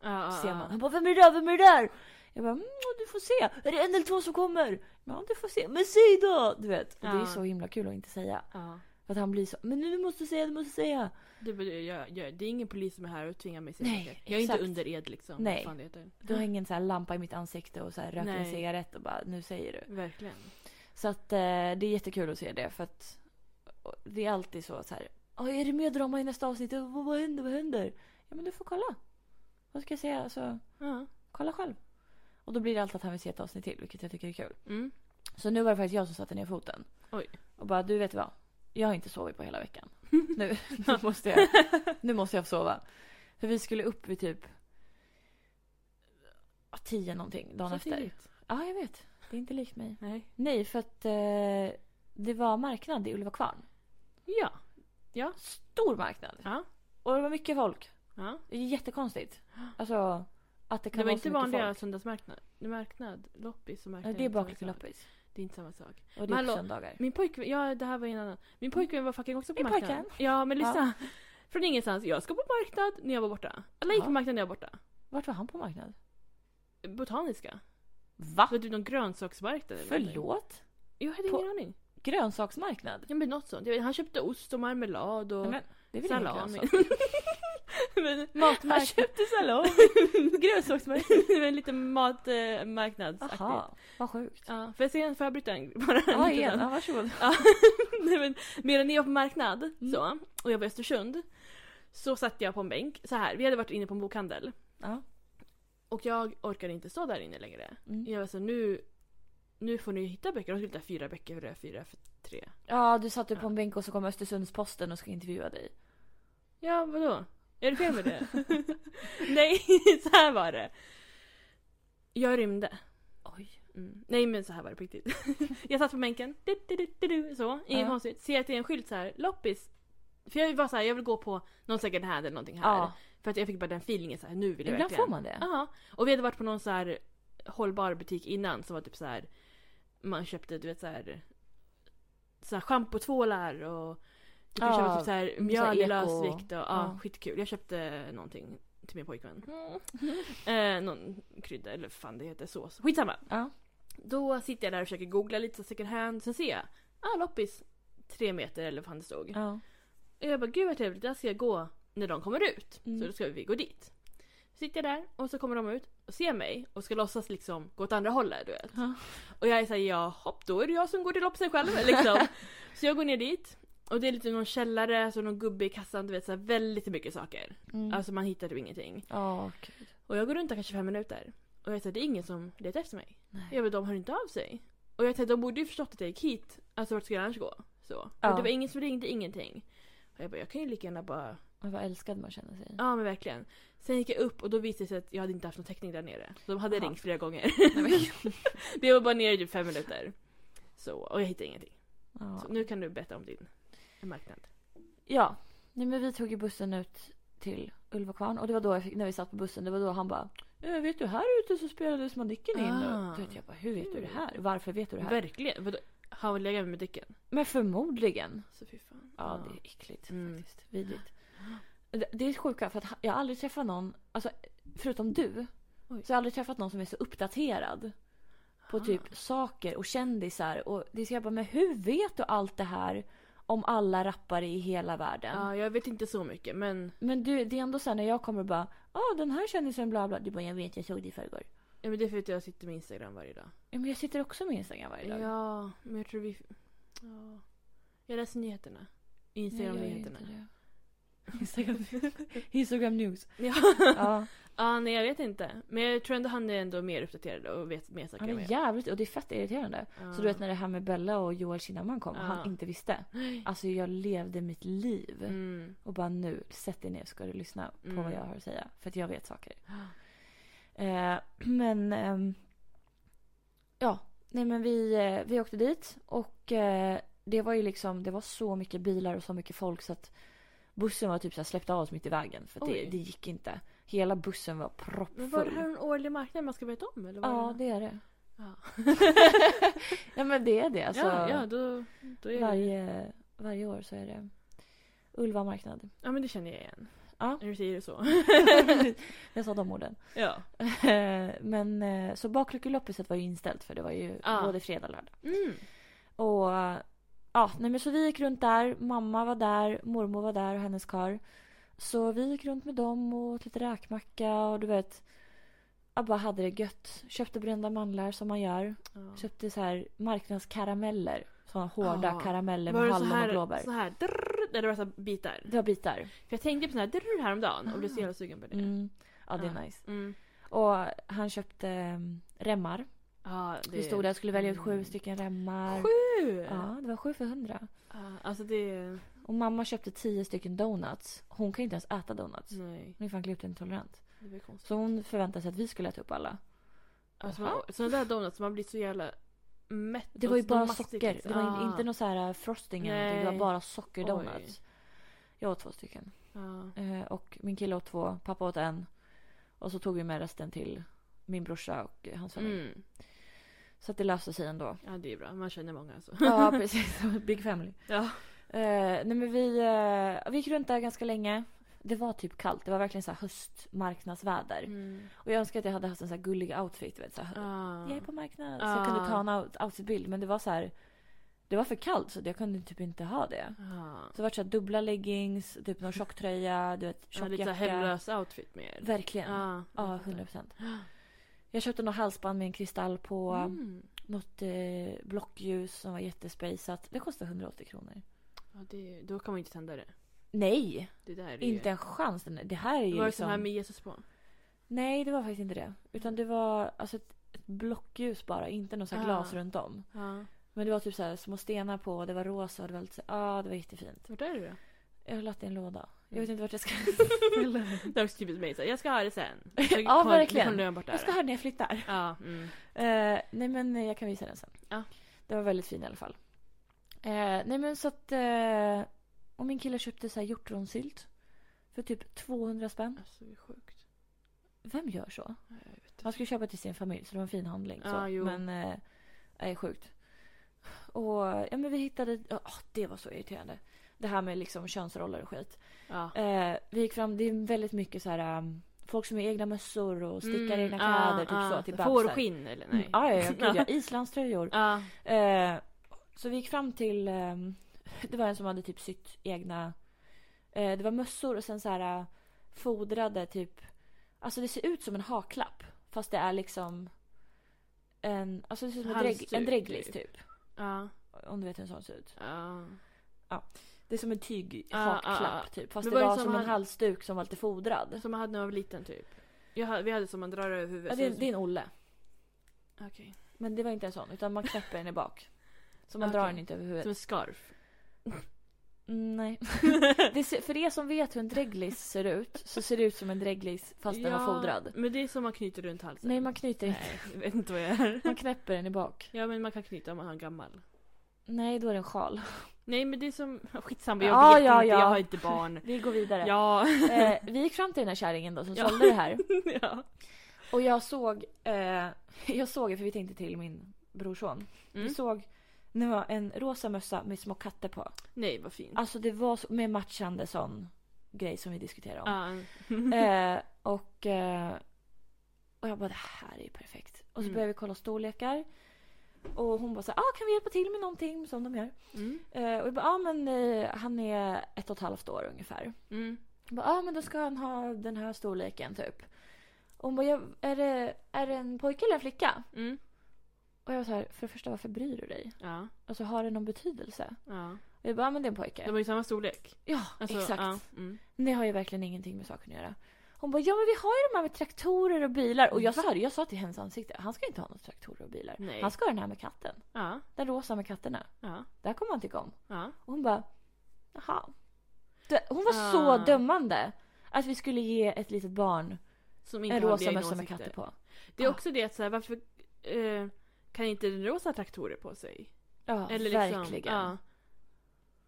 B: Ja, ja,
A: ser man.
B: ja.
A: Han bara vem är det där, vem är det där? Jag bara mm, du får se. Är det en eller två som kommer? Ja du får se. Men säg då! Du vet. Och det är
B: Ja.
A: så himla kul att inte säga.
B: Ja.
A: För att han blir så men nu måste du säga, du måste säga.
B: Det, det, jag, jag, det är ingen polis som är här och tvingar mig att säga
A: Nej,
B: saker. Jag är inte
A: exakt.
B: under ed liksom.
A: Nej.
B: Vad fan det heter.
A: Du har ingen så här lampa i mitt ansikte och så här röker en
B: Nej.
A: cigarett och bara nu säger du.
B: Verkligen.
A: Så att eh, det är jättekul att se det för att och det är alltid så, så här. "Ja, Är det mer drama i nästa avsnitt? Vad, vad händer? Vad händer? Ja men du får kolla. Vad ska jag säga? Alltså,
B: Ja.
A: kolla själv. Och då blir det alltid att han vill se ett avsnitt till vilket jag tycker är kul.
B: Mm.
A: Så nu var det faktiskt jag som satte ner foten.
B: Oj.
A: Och bara du vet vad? Jag har inte sovit på hela veckan. Nu, nu, måste, jag, nu måste jag få sova. För vi skulle upp vid typ ja, tio någonting dagen
B: Så
A: efter.
B: tidigt.
A: Ja, jag vet. Det är inte likt mig.
B: Nej.
A: Nej, för att eh, det var marknad i Ulva kvarn.
B: Ja.
A: Stor marknad.
B: Ja.
A: Och det var mycket folk.
B: ja.
A: Det är jättekonstigt. Alltså att det kan
B: Det var
A: vara
B: inte
A: så mycket
B: vanliga
A: folk.
B: söndagsmarknad. Marknad, loppis och marknad.
A: Nej, det är
B: inte samma
A: bakligt
B: sak.
A: loppis.
B: Det är inte samma sak.
A: Och det är
B: Men
A: på
B: hallå,
A: söndagar.
B: Min pojkvän, ja det här var en annan. Min pojkvän var fucking också på
A: Mm. Min
B: marknaden.
A: pojkvän.
B: Ja men lyssna. Från ingenstans. Jag ska på marknad när jag var borta. Alla gick
A: Ja.
B: på marknad när jag var borta.
A: Vart var han på marknad?
B: Botaniska.
A: Va?
B: Var du någon grönsaksmarknad eller någonting?
A: Förlåt?
B: Jag hade
A: På-
B: ingen aning.
A: Grönsaksmarknad?
B: Ja men något sånt. Jag vet, han köpte ost och marmelad och
A: Nej, men det är väl ingen
B: salami.
A: grönsak?
B: alltså. men,
A: Matmarknad?
B: Han köpte salami. Grönsaksmarknad. det var en liten matmarknadsaktig.
A: Jaha, vad sjukt.
B: Ja, får jag säga en får jag bryta en bara?
A: Ja,
B: en liten
A: igen.
B: sak?
A: Ja, varsågod.
B: Ja, nej men medan jag var på marknad
A: Mm.
B: så, och jag var i Östersund så satt jag på en bänk så här. Vi hade varit inne på en bokhandel
A: Ja.
B: och jag orkade inte stå där inne längre.
A: Mm.
B: Jag var så nu, nu får ni hitta böcker. De skulle hitta fyra böcker för det, fyra för tre.
A: ja, du satt du på en bänk och så kom Östersundsposten och ska intervjua dig.
B: Ja, vadå? Är det fel med det? nej, så här var det. Jag rymde.
A: Oj.
B: Mm. Nej men så här var det på riktigt. jag satt på bänken, du, du, du, du, du, så, inget
A: Ja.
B: konstigt. Ser att det är en skylt så här, loppis. För jag var så här, jag vill gå på någon second hand eller någonting här.
A: Ja,
B: För att jag fick bara den feelingen så här, nu vill jag
A: ibland
B: verkligen.
A: får man det.
B: Ja. Och vi hade varit på någon så här hållbar butik innan som var typ så här. Man köpte du vet så här. Så här schampotvålar och du kan
A: Ja,
B: köpa typ så här
A: så
B: mjöl i
A: eko.
B: lösvikt och ja,
A: Ja.
B: skitkul. Jag köpte någonting till min pojkvän.
A: Mm.
B: Eh, någon krydda eller fan det heter sås. Skitsamma.
A: Ja.
B: Då sitter jag där och försöker googla lite så här second hand. Sen ser jag, ah loppis. Tre meter eller vad fan det stod.
A: Ja.
B: Och jag bara gud vad trevligt, där ska jag gå när de kommer ut.
A: Mm.
B: Så då ska vi gå dit. Så sitter jag där och så kommer de ut och ser mig och ska låtsas liksom gå åt andra hållet du vet.
A: Ja.
B: Och jag är såhär ja hopp då är det jag som går till loppisen själv liksom. så jag går ner dit. Och det är lite någon källare, så någon gubbe i kassan, du vet så här, väldigt mycket saker.
A: Mm.
B: Alltså man hittar typ ingenting.
A: Ja, gud.
B: Och jag går runt där kanske fem minuter. Och jag säger det är ingen som letar efter mig.
A: Nej.
B: Jag bara, de hör inte av sig. Och jag tänkte de borde ju förstått att jag gick hit. Alltså vart skulle jag annars gå? Så.
A: Ja.
B: Och det var ingen som ringde, ingenting. Och jag bara, jag kan ju lika gärna bara...
A: Men vad älskad man känner sig.
B: Ja men verkligen. Sen gick jag upp och då visade det sig att jag hade inte haft någon täckning där nere. Så de hade
A: Aha.
B: ringt flera gånger. Men jag var bara nere i typ fem minuter. Så, och jag hittade ingenting.
A: Ja.
B: Så nu kan du berätta om din marknad.
A: Ja, nej, men vi tog ju bussen ut till Ulvakvarn och det var då jag fick, när vi satt på bussen, det var då han bara "Eh, Vet du här ute så spelades Madicken in
B: Ah. Mm.
A: och då vet jag bara hur vet du det här? Varför vet du det här?
B: Verkligen? Vadå? Har hon legat med dicken?
A: Men förmodligen.
B: Så fy fan.
A: Ja, det är äckligt
B: Mm.
A: faktiskt. Vidrigt. Det- Det är sjuka för att ha- jag har aldrig träffat någon, alltså förutom du,
B: Oj.
A: så jag har aldrig träffat någon som är så uppdaterad på
B: Ah.
A: typ saker och kändisar och det är så jag bara men hur vet du allt det här om alla rappare i hela världen?
B: Ja, jag vet inte så mycket men
A: Men du, det är ändå så här när jag kommer och bara ah, den här kändisen bla bla. Du bara jag vet jag såg det i förrgår.
B: Ja men det är för att jag sitter med Instagram varje dag.
A: Ja, men jag sitter också med Instagram varje dag.
B: Ja, men jag tror vi... Ja. Jag läser nyheterna. Instagram-nyheterna.
A: Instagram, Instagram news.
B: Ja.
A: Ja,
B: ja, nej jag vet inte. Men jag tror ändå han är ändå mer uppdaterad och vet mer saker
A: han
B: än
A: är
B: vad
A: jävligt och det är fett irriterande.
B: jag.
A: Så du vet när det här med Bella och Joel Kinnaman kom och
B: Ja.
A: han inte visste.
B: Nej.
A: Alltså jag levde mitt liv.
B: Mm.
A: Och bara nu, sätt dig ner ska du lyssna på
B: Mm.
A: vad jag har att säga. För att jag vet saker. Eh, men... ehm, ja, nej men vi, eh, vi åkte dit och eh, det var ju liksom, det var så mycket bilar och så mycket folk så att bussen var typ så här, släppte av oss mitt i vägen för att det,
B: Oj.
A: det gick inte. Hela bussen var
B: Men var det
A: proppfull.
B: här en årlig marknad man ska veta om eller? Var
A: ja, det är det.
B: Ja.
A: ja men det är det alltså.
B: ja, ja, då, då är det...
A: varje, varje år så är det Ulva marknad.
B: Ja men det känner jag igen.
A: Ja.
B: När du säger det så.
A: Jag sa de orden.
B: ja.
A: men eh, så bakluckeloppiset var ju inställt för det var ju
B: Ja.
A: både fredag och lördag.
B: Mm.
A: Och eh, ja, nej men så vi gick runt där. Mamma var där, mormor var där och hennes kar. Så vi gick runt med dem och åt lite räkmacka och du vet. Jag bara hade det gött. Köpte brända mandlar som man gör.
B: Ja.
A: Köpte så här marknadskarameller. Såna hårda
B: Ja.
A: karameller
B: Ah. Var
A: med
B: det så
A: hallon och
B: här,
A: blåbär.
B: så här drrrr, eller var det så här bitar?
A: Det var bitar.
B: För jag tänkte på sån här drrrr häromdagen och blev så
A: Ah.
B: jävla sugen på det.
A: Mm. Ja, det är
B: Ja.
A: nice.
B: Mm.
A: Och han köpte mm, remmar.
B: Ja, det...
A: Vi stod där och skulle välja ut sju
B: Mm.
A: stycken remmar.
B: Sju!
A: Ja, det var sju för hundra.
B: Ja, alltså det...
A: Och mamma köpte tio stycken donuts. Hon kan ju inte ens äta donuts.
B: Nej,
A: Hon är fan glutenintolerant.
B: det blir konstigt.
A: Så hon förväntade sig att vi skulle äta upp alla.
B: Alltså, man, sådana där donuts, man blir så jävla mätt.
A: Det
B: och
A: var ju
B: så
A: bara
B: mastigt,
A: socker.
B: liksom.
A: Det var in-
B: Ah.
A: inte någon så här eh, frosting eller någonting. Det var
B: Nej.
A: bara sockerdonuts. Jag åt två stycken.
B: Ja.
A: Eh, Och min kille åt två, pappa åt en. Och så tog vi med resten till min brorsa och hans familj.
B: Mm.
A: Så att det löste sig ändå.
B: ja, det är bra. Man känner många alltså.
A: Ja, precis. Big family.
B: Ja.
A: Eh, nej men vi, eh, vi gick runt där ganska länge. Det var typ kallt. Det var verkligen så här höstmarknadsväder.
B: Mm.
A: Och jag önskar att jag hade haft en så här gullig outfit. Du vet, så här,
B: Ah.
A: Jag är på marknad. Så jag kunde
B: Ah.
A: ta en out- outfitbild. Men det var så här. Det var för kallt så jag kunde typ inte ha det.
B: Ah.
A: Så det var så här dubbla leggings, typ någon tjocktröja, du vet
B: Ja,
A: tjock
B: lite så
A: jacka.
B: här hemlös outfit Ah. med er.
A: Verkligen. Ja,
B: Ja, jag fattar.
A: 100 procent. Jag köpte något halsband med en kristall på.
B: Mm.
A: Något eh, blockljus som var jättespejsat. Det kostade 180 kronor.
B: Ja, det, då kan man ju inte tända det.
A: Nej,
B: Det där är
A: inte en chans. Den- Det här är
B: ju...
A: ju
B: Var det
A: liksom...
B: sån här med Jesus på?
A: Nej, det var faktiskt inte det. Utan det var alltså ett, ett blockljus bara, inte något så här
B: Ah.
A: glas runt om.
B: Ja.
A: Men det var typ så här små stenar på och det var rosa och det var lite så ja ah, det var jättefint.
B: Vart är det då?
A: Jag har lagt det i en låda. Jag vet inte vart jag ska.
B: Det är också typiskt mig. så här, Jag ska ha det sen.
A: Ja, verkligen.
B: Kom lön bort där.
A: Jag ska ha den när jag flyttar.
B: Ja, mm.
A: Eh, nej men eh, jag kan visa den sen.
B: Ja.
A: Den var väldigt fin i alla fall. Eh, nej men så att, eh, och min kille köpte så här hjortronsylt. För typ 200 spänn.
B: Alltså det är sjukt.
A: Vem gör så?
B: Ja, Jag vet inte.
A: Han skulle köpa till sin familj så det var en fin handling. Så.
B: Ja, jo.
A: Men eh, nej, sjukt. Och ja, men vi hittade, ja ah, det var så irriterande. Det här med liksom könsroller och skit.
B: Ja.
A: Eh, vi gick fram, det är väldigt mycket så här um, folk som har egna mössor och stickar
B: Mm,
A: egna
B: ja,
A: kläder typ
B: ja.
A: så till bebisar.
B: Fårskinn eller
A: Mm,
B: nej?
A: ja, ja, ja, gud, ja. Islandströjor.
B: Ja.
A: Eh, så vi gick fram till, ehm, det var en som hade typ sytt egna, eh, det var mössor och sen så här eh, fodrade typ, alltså det ser ut som en haklapp fast det är liksom en, alltså det ser ut som en, drägg,
B: Halsduk,
A: en drägglis
B: typ.
A: typ.
B: Ja.
A: Om du vet hur en sån ser ut.
B: ja.
A: Det är som en tyg
B: Ah, ah,
A: hakklapp
B: ah.
A: typ. Fast det
B: Men var det
A: var
B: som
A: som en
B: han-
A: halsduk som var lite fodrad.
B: Som man hade när man var liten typ. Jag hade, vi hade som man drar över
A: Ja,
B: huvudet.
A: Alltså, det,
B: så-
A: det är en Olle.
B: Okej.
A: Men det var inte en sån utan man knäpper den i bak. Så man
B: Okej.
A: drar den inte över huvudet.
B: Som en scarf.
A: Mm, Nej. det ser, för er som vet hur en dreglis ser ut så ser det ut som en dreglis fast den var fodrad.
B: Men det är som man knyter runt halsen.
A: Nej, man knyter inte.
B: Nej, jag vet inte vad jag är.
A: Man knäpper den i bak.
B: Ja men man kan knyta om man har en gammal.
A: Nej, då är det en sjal.
B: Nej men det är som, skitsamma jag
A: Ja,
B: vet
A: ja,
B: inte,
A: ja.
B: jag har inte barn.
A: Vi går vidare.
B: Ja.
A: Eh, vi gick fram till den här kärringen då som
B: Ja.
A: sålde det här.
B: ja.
A: Och jag såg, eh, jag såg, för vi tänkte till min brorson. Vi
B: Mm.
A: såg nu var en rosa mössa med små katter på.
B: Nej vad fint.
A: Alltså det var så, med matchande sån grej som vi diskuterade om.
B: Ja. Mm.
A: Eh, och, eh, och jag bara det här är ju perfekt. Och så
B: Mm.
A: började vi kolla storlekar. Och hon bara så här, ah, kan vi hjälpa till med någonting som de gör?
B: Mm.
A: Eh, och jag bara, ja ah, men eh, han är ett och ett halvt år ungefär.
B: Mm.
A: Jag bara, ah, men då ska han ha den här storleken typ. Och hon bara, ja, är, det, är det en pojke eller en flicka?
B: Mm.
A: Och jag var så här, för det första varför bryr du dig?
B: Ja.
A: Alltså har det någon betydelse?
B: ja.
A: Och jag bara, ah, men det är en pojke.
B: De har ju samma storlek.
A: Ja,
B: Alltså,
A: exakt.
B: Ja. Mm.
A: Det har ju verkligen ingenting med saken att göra. Hon bara, ja men vi har ju de här med traktorer och bilar. Och jag sa det, jag sa till hennes ansikte, han ska inte ha några traktorer och bilar.
B: Mm. Nej.
A: Han ska ha den här med katten.
B: Ja.
A: Den rosa med katterna.
B: Ja.
A: Det här kommer han tycka om.
B: Ja.
A: Och hon bara, jaha. Det- Hon var så
B: Ah.
A: dömande. Att vi skulle ge ett litet barn
B: Som
A: en
B: har
A: rosa
B: diagnos
A: mössa med
B: riktigt.
A: katter på.
B: Det är
A: Ah.
B: också det att så här, varför eh, kan inte den rosa ha traktorer på sig?
A: Ja,
B: Eller liksom,
A: verkligen. Ah.
B: Ja.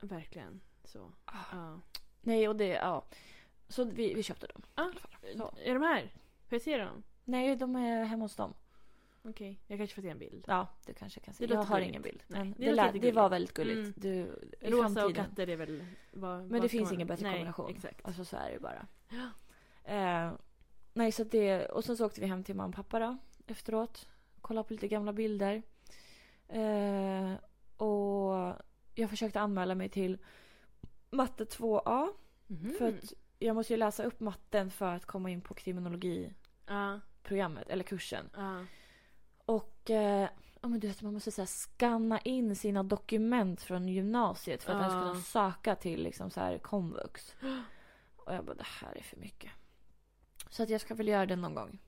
B: Verkligen. Så. Ja.
A: Nej, och det, ja. Så vi, vi köpte dem.
B: Ah.
A: Så.
B: Är de här? Får jag se dem?
A: Nej, de är hemma hos dem.
B: Okej. Jag kanske får se en bild.
A: Ja, du kanske kan se.
B: Det
A: jag
B: låter
A: har
B: gulligt.
A: ingen bild.
B: Nej,
A: Men
B: det
A: det,
B: låter
A: lär, det
B: jättegulligt.
A: var väldigt gulligt.
B: Mm.
A: Du, i
B: Rosa och
A: framtiden.
B: katter är väl vad,
A: Men det finns ingen bättre kombination.
B: Nej, exakt.
A: Alltså så är det ju bara. Eh, nej, så att det, och sen så åkte vi hem till mamma och pappa då, efteråt. Kollade på lite gamla bilder. Eh, och jag försökte anmäla mig till matte 2A.
B: Mhm.
A: För att jag måste ju läsa upp matten för att komma in på kriminologiprogrammet,
B: Ja,
A: eller kursen.
B: ja.
A: Och eh, ja, men du vet, man måste så här, skanna in sina dokument från gymnasiet för att
B: Ja.
A: ens kunna söka till liksom, så här, komvux. Och jag bara, det här är för mycket. Så att jag ska väl göra det någon gång.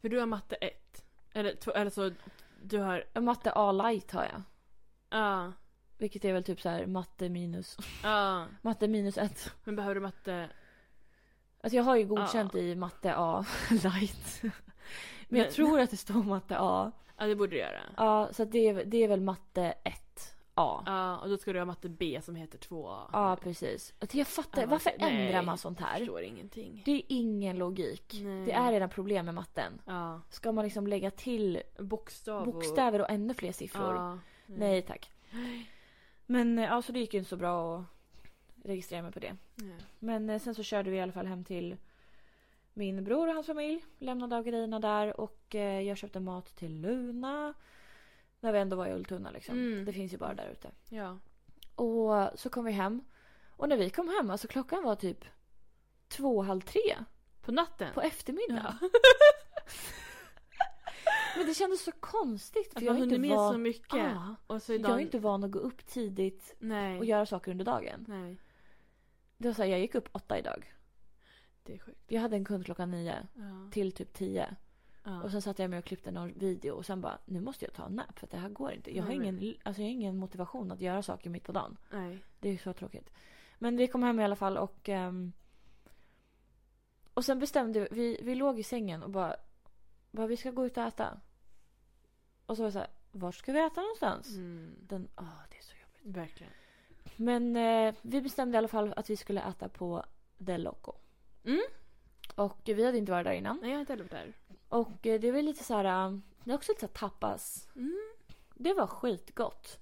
B: För du har matte 1. Eller, två- eller så du har...
A: En Eh, Matte A light har jag.
B: Ja.
A: Vilket är väl typ så här matte minus,
B: Ja.
A: matte minus ett.
B: Men behöver du matte...
A: Alltså jag har ju godkänt i matte A light. Men jag tror att det står matte A.
B: Ja, det borde du göra.
A: Ja, så att det, är, det är väl matte 1A.
B: Ja, och då ska du ha matte B som heter 2A.
A: Ja, precis. Att Jag fattar,
B: Ja,
A: varför
B: nej.
A: ändrar man sånt
B: Jag
A: här?
B: förstår ingenting.
A: Det är ingen logik.
B: Nej.
A: Det är redan problem med matten.
B: Ja.
A: Ska man liksom lägga till
B: Bokstav och...
A: bokstäver och ännu fler siffror?
B: Ja. Mm.
A: Nej tack. Men eh, ja, så det gick ju inte så bra att registrera mig på det.
B: Nej.
A: Men eh, sen så körde vi i alla fall hem till min bror och hans familj. Lämnade av grejerna där och eh, jag köpte mat till Luna. När vi ändå var i Ultuna liksom.
B: Mm.
A: Det finns ju bara där ute.
B: Ja.
A: Och så kom vi hem. Och när vi kom hem, alltså klockan var typ två, halv tre
B: På natten?
A: på eftermiddagen. Men det kändes så konstigt. För
B: Att
A: jag
B: man
A: är
B: hinner
A: inte
B: med så
A: van...
B: mycket.
A: Ah,
B: Och så idag...
A: jag är inte van att gå upp tidigt
B: Nej.
A: och göra saker under dagen.
B: Nej.
A: Det var så här, jag gick upp åtta idag.
B: Det är sjukt.
A: Jag hade en kund klockan nio
B: Ja.
A: till typ tio.
B: Ja.
A: Och sen satt jag med och klippte någon video och sen bara, nu måste jag ta en nap för att det här går inte. Jag har,
B: Nej, men-
A: ingen, alltså jag har ingen motivation att göra saker mitt på dagen.
B: Nej.
A: Det är ju så tråkigt. Men vi kom hem i alla fall och... ehm, och sen bestämde vi, vi, vi låg i sängen och bara, bara, vi ska gå ut och äta. Och så var det så här, var ska vi äta någonstans?
B: Mm.
A: Den, åh, det är så jobbigt.
B: Verkligen.
A: Men eh, vi bestämde i alla fall att vi skulle äta på Del Loco.
B: Mm.
A: Och vi hade inte varit där innan.
B: Nej, jag har inte heller varit där.
A: Och eh, det var lite så här, eh, det var också lite så här tapas.
B: Mm.
A: Det var skitgott.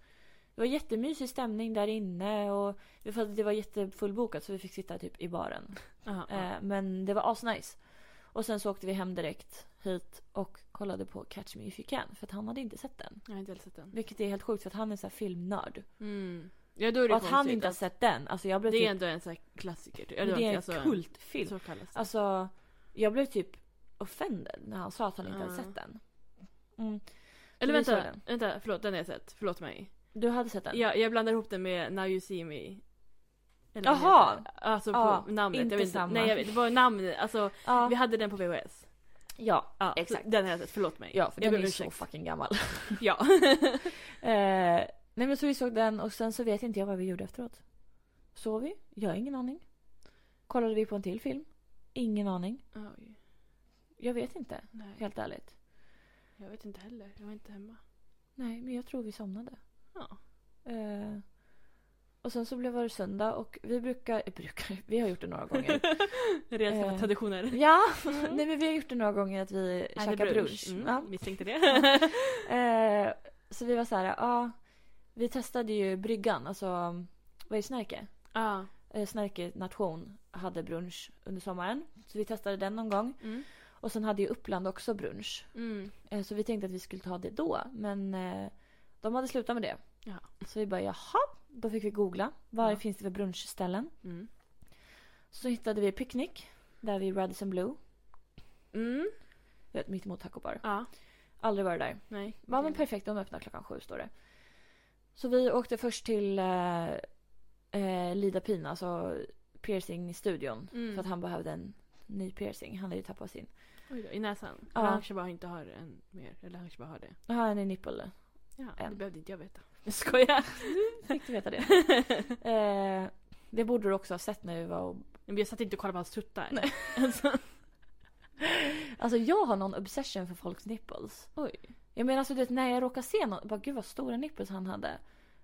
A: Det var jättemysig stämning där inne och vi fattade att det var jättefullbokat så vi fick sitta typ i baren.
B: Ja, ja.
A: Eh, men det var asnice. Och sen så åkte vi hem direkt hit och kollade på Catch Me If You Can för att han hade inte sett den.
B: Jag har inte heller sett den.
A: Vilket är helt sjukt för att han är så här filmnörd.
B: Mm. Ja, då är det
A: Och att han
B: konstigt
A: inte har
B: att-
A: sett den. Alltså jag blev
B: Det är
A: typ,
B: ändå en sån här klassiker. typ.
A: men det
B: Eller
A: är en
B: alltså,
A: kultfilm.
B: Så kallas det.
A: Alltså, jag blev typ offended när han sa att han inte hade
B: Ja.
A: sett den. Mm.
B: Eller
A: vi såg
B: vänta,
A: den.
B: vänta, förlåt, den har jag sett. Förlåt mig.
A: Du hade sett den?
B: Ja, jag blandar ihop den med Now You See Me. Eller vad
A: Jaha.
B: den heter. Alltså på
A: Ja,
B: namnet.
A: inte
B: jag vet inte.
A: samma.
B: Nej, jag vet, det var namnet. Alltså,
A: Ja.
B: vi hade den på VHS.
A: ja.
B: Ja,
A: Exakt.
B: Den har jag sett, förlåt mig.
A: Ja, för
B: jag
A: den är
B: ber om
A: ju så
B: ursäkt.
A: fucking gammal.
B: Ja.
A: eh, nej men så vi såg den och sen så vet inte jag vad vi gjorde efteråt. Sov vi? Jag har ingen aning. Kollade vi på en till film? Ingen aning.
B: Oj,
A: Jag vet inte,
B: nej,
A: helt ärligt.
B: jag vet inte heller. Jag var inte hemma.
A: Nej, men jag tror vi somnade.
B: Ja.
A: Eh, och sen så blev det söndag och vi brukar, eh, brukar, vi har gjort det några gånger.
B: Redan
A: Eh.
B: skaffat traditioner.
A: ja, nej men vi har gjort det några gånger att vi käkar brunch.
B: Mm,
A: Ja.
B: Misstänkte det.
A: Eh, så vi var så här, ja. vi testade ju bryggan, alltså vad är Snärke?
B: ja.
A: Eh, Snärke nation hade brunch under sommaren. Så vi testade den någon gång.
B: Mm.
A: Och sen hade ju Uppland också brunch.
B: Mm.
A: Eh, Så vi tänkte att vi skulle ta det då. Men eh, de hade slutat med det.
B: Ja.
A: Så vi bara jaha. Då fick vi googla. Vad
B: Ja.
A: finns det för brunchställen?
B: Mm.
A: Så hittade vi Picnic. Där vid Radisson Blue.
B: Mm.
A: eh, Mitt emot Taco Bar.
B: Ja.
A: Aldrig varit där.
B: Nej.
A: Ja men perfekt, de öppnar klockan sju står det. Så vi åkte först till eh, eh, Lida Pina, alltså piercingstudion.
B: Mm.
A: För att han behövde en ny piercing. Han hade ju tappat sin.
B: Oj då, I näsan?
A: Ja.
B: Ja. Han kanske bara inte har en mer. Eller han kanske bara har det.
A: Jaha, en nipple.
B: Ja,
A: En.
B: det behövde inte jag veta. Jag skojar.
A: Fick du veta det? eh, det borde du också ha sett när vi var och...
B: Men jag satt inte och kollade på hans tuttar.
A: Nej.
B: Alltså,
A: Alltså jag har någon obsession för folks nipples.
B: oj.
A: Jag menar alltså du vet när jag råkar se någon, bara gud vad stora nipples han hade.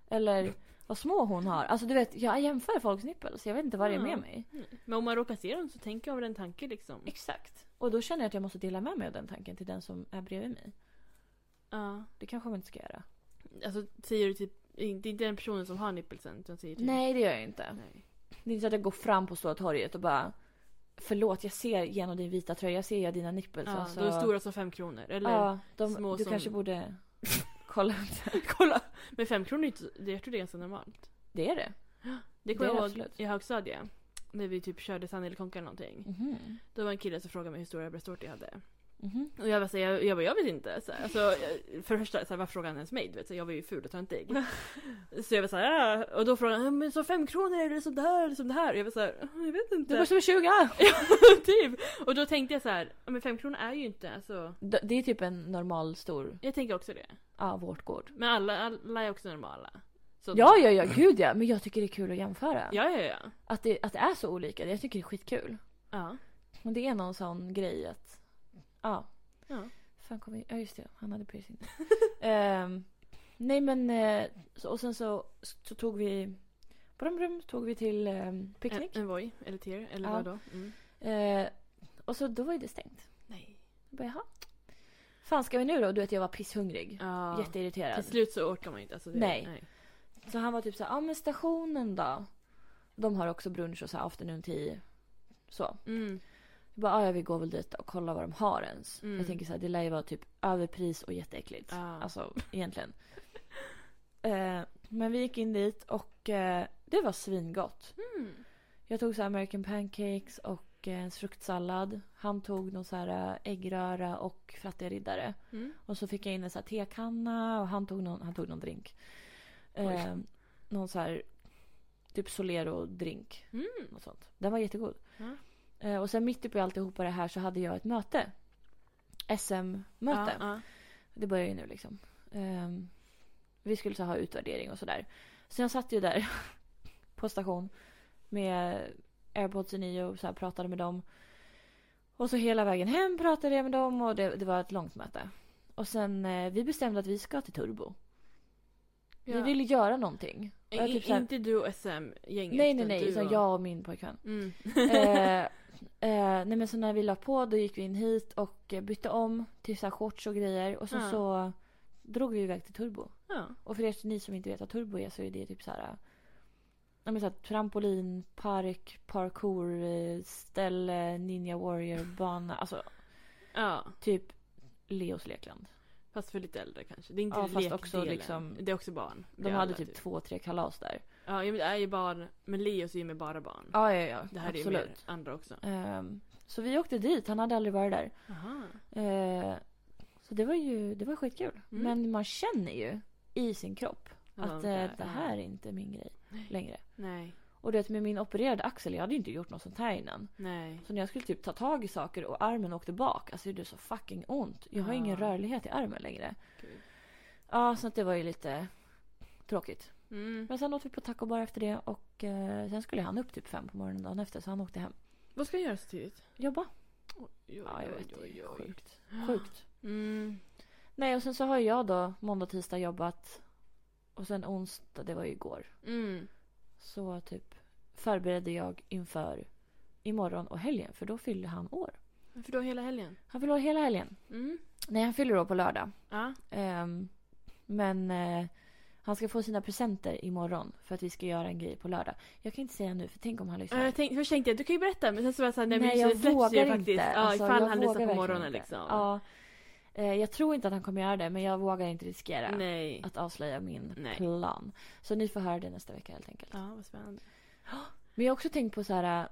A: Eller vad små hon har. Alltså du vet, jag jämför folks nipples. Jag vet inte vad det är med
B: Ja.
A: mig.
B: Men om man råkar se dem så tänker jag över den tanken liksom.
A: Exakt. Och då känner jag att jag måste dela med mig av den tanken till den som är bredvid mig.
B: Ja.
A: Det kanske man inte ska göra.
B: Alltså säger du typ, det är inte den personen som har nippelsen utan säger typ
A: Nej, det gör jag inte.
B: Nej.
A: Det är inte så att jag går fram på Stora torget och bara Förlåt, jag ser genom din vita tröja, jag ser jag dina nipples.
B: Ja,
A: alltså.
B: De är stora som fem kronor. Eller
A: ja, de,
B: små
A: du
B: som-
A: kanske borde kolla.
B: kolla! Men fem kronor är inte, så- det- jag tror det är ganska normalt.
A: Det är det.
B: Det
A: Det
B: kommer
A: är
B: jag ihåg
A: absolut.
B: i högstadiet. När vi typ körde sann eller konka eller någonting.
A: Mhm.
B: Då var en kille som frågade mig hur stora bröstvårtor jag hade.
A: Mhm.
B: Och jag bara, så här, jag, jag, bara, jag vet inte. Så här, alltså, jag- för det första, så här, varför frågade han ens mig? Du vet, så här, jag var ju ful och töntig. så jag var så här, "Ah." och då frågade han, "Ja, men så fem kronor eller som det här eller som det här? Och jag var så här, "Ah, jag vet inte.
A: Du var som 20!
B: typ. Och då tänkte jag så här, "Ja, men fem kronor är ju inte, alltså.
A: D- Det är typ en normal stor
B: Jag tänker också det.
A: ja, vårtgård.
B: Men alla, alla är också normala. Så,
A: Ja, ja, ja, gud ja. Men jag tycker det är kul att jämföra.
B: ja, ja, ja.
A: Att, det, att det är så olika, jag tycker det är skitkul.
B: Ja.
A: Och det är någon sån grej att... Ja.
B: Ja.
A: fan kom vi... Ja just det, han hade piercing. Ehm, nej men, eh, så, och sen så, så tog vi... Brum, brum, tog vi till ehm, picknick.
B: En, en Voi eller Tier eller
A: Ja.
B: vad då? Mm.
A: Eh, och så då var ju det stängt.
B: Nej.
A: Jag bara, jaha. Fan ska vi nu då? Du vet jag var pisshungrig.
B: Ja.
A: Jätteirriterad.
B: Till slut så orkar man inte. Alltså det,
A: Nej. Så han var typ så här, ja ah, men stationen då? De har också brunch och så här afternoon tea. Så.
B: Mm.
A: Jag bara, ah, ja vi går väl dit och kollar vad de har ens.
B: Mm.
A: Jag tänker så här, det lär ju vara typ överpris och jätteäckligt.
B: Ja.
A: Alltså egentligen. eh, men vi gick in dit och eh, det var svingott.
B: Mm.
A: Jag tog så här American pancakes och eh, en fruktsallad. Han tog någon så här eh, äggröra och fattiga riddare.
B: Mm.
A: Och så fick jag in en så här tekanna och han tog någon, han tog någon drink. Eh, någon så här typ Solero-drink.
B: Mm.
A: Något sånt. Den var jättegod.
B: Ja.
A: Eh, och sen mitt uppe i alltihopa det här så hade jag ett möte. SM-möte.
B: Ja, ja.
A: Det börjar ju nu liksom. Ehm, vi skulle så ha utvärdering och sådär. Så jag satt ju där på station med airpodsen i och så här pratade med dem. Och så hela vägen hem pratade jag med dem och det, det var ett långt möte. Och sen eh, vi bestämde att vi ska till Turbo. Vi
B: Ja.
A: ville göra någonting. Och jag
B: I-
A: typ så här,
B: Inte du och SM-gänget?
A: nej, nej,
B: utan
A: nej.
B: du
A: Utan
B: och-
A: jag och min pojkvän.
B: Mm.
A: eh, eh, nej men så när vi la på då gick vi in hit och eh, bytte om till så här shorts och grejer. Och sen
B: Ja.
A: så drog vi iväg till Turbo.
B: Ja.
A: Och för er ni som inte vet vad Turbo är så är det typ så här. Ja men så här, trampolin, park, parkour, eh, ställe, ninja warrior, bana. Alltså
B: ja.
A: typ Leos lekland.
B: Fast för lite äldre kanske. Det är inte
A: Ja, fast
B: lekdelen.
A: också liksom-
B: det är också barn. Det
A: De
B: är
A: hade
B: alla,
A: typ, två, tre kalas där.
B: Ja, men det är ju barn. Men Leos är ju med bara barn.
A: Ja, ja, ja.
B: det här är ju mer
A: absolut.
B: andra också.
A: Ehm, så vi åkte dit, han hade aldrig varit där.
B: Aha.
A: Eh, så det var ju det var skitkul.
B: Mm.
A: Men man känner ju i sin kropp
B: Ja,
A: att
B: det-
A: eh, det här
B: ja.
A: är inte min grej längre.
B: Nej,
A: Och det med min opererade axel, jag hade ju inte gjort något sånt här innan.
B: nej.
A: Så när jag skulle typ ta tag i saker och armen åkte bak, alltså det gjorde så fucking ont. Jag har
B: Ja.
A: ingen rörlighet i armen längre.
B: Gud.
A: Ja, så att det var ju lite tråkigt.
B: Mm.
A: Men sen åt vi på taco bar efter det och eh, sen skulle han upp typ fem på morgonen dagen efter så han åkte hem.
B: Vad ska jag göra så tidigt?
A: Jobba.
B: Oj, oj,
A: Ja, jag
B: oj,
A: vet.
B: oj,
A: Det är
B: oj.
A: sjukt. Sjukt.
B: Mm.
A: Nej, och sen så har jag då måndag, tisdag jobbat. Och sen onsdag, det var ju igår.
B: Mm.
A: Så typ förberedde jag inför imorgon och helgen. För då fyller han år.
B: För då hela helgen?
A: Han fyller år hela helgen.
B: Mm.
A: Nej, han fyller år på lördag.
B: Ja.
A: Ehm, men eh, han ska få sina presenter imorgon. För att vi ska göra en grej på lördag. Jag kan inte säga nu, för tänk om han lyssnar.
B: Ja, Jag tänkte, först tänkte jag du kan ju berätta men sen så var jag såhär, nej,
A: Nej,
B: men
A: jag
B: det släpps
A: vågar
B: ju
A: inte.
B: faktiskt. Ja,
A: Alltså,
B: ifall
A: jag vågar
B: han lyssnar på
A: verkligen
B: morgonen
A: inte.
B: liksom.
A: Ja. Eh, jag tror inte att han kommer göra det, men jag vågar inte riskera.
B: Nej.
A: Att avslöja min
B: Nej.
A: plan. Så ni får höra det nästa vecka helt enkelt.
B: Ja, vad spännande.
A: Men jag har också tänkt på så här. äh,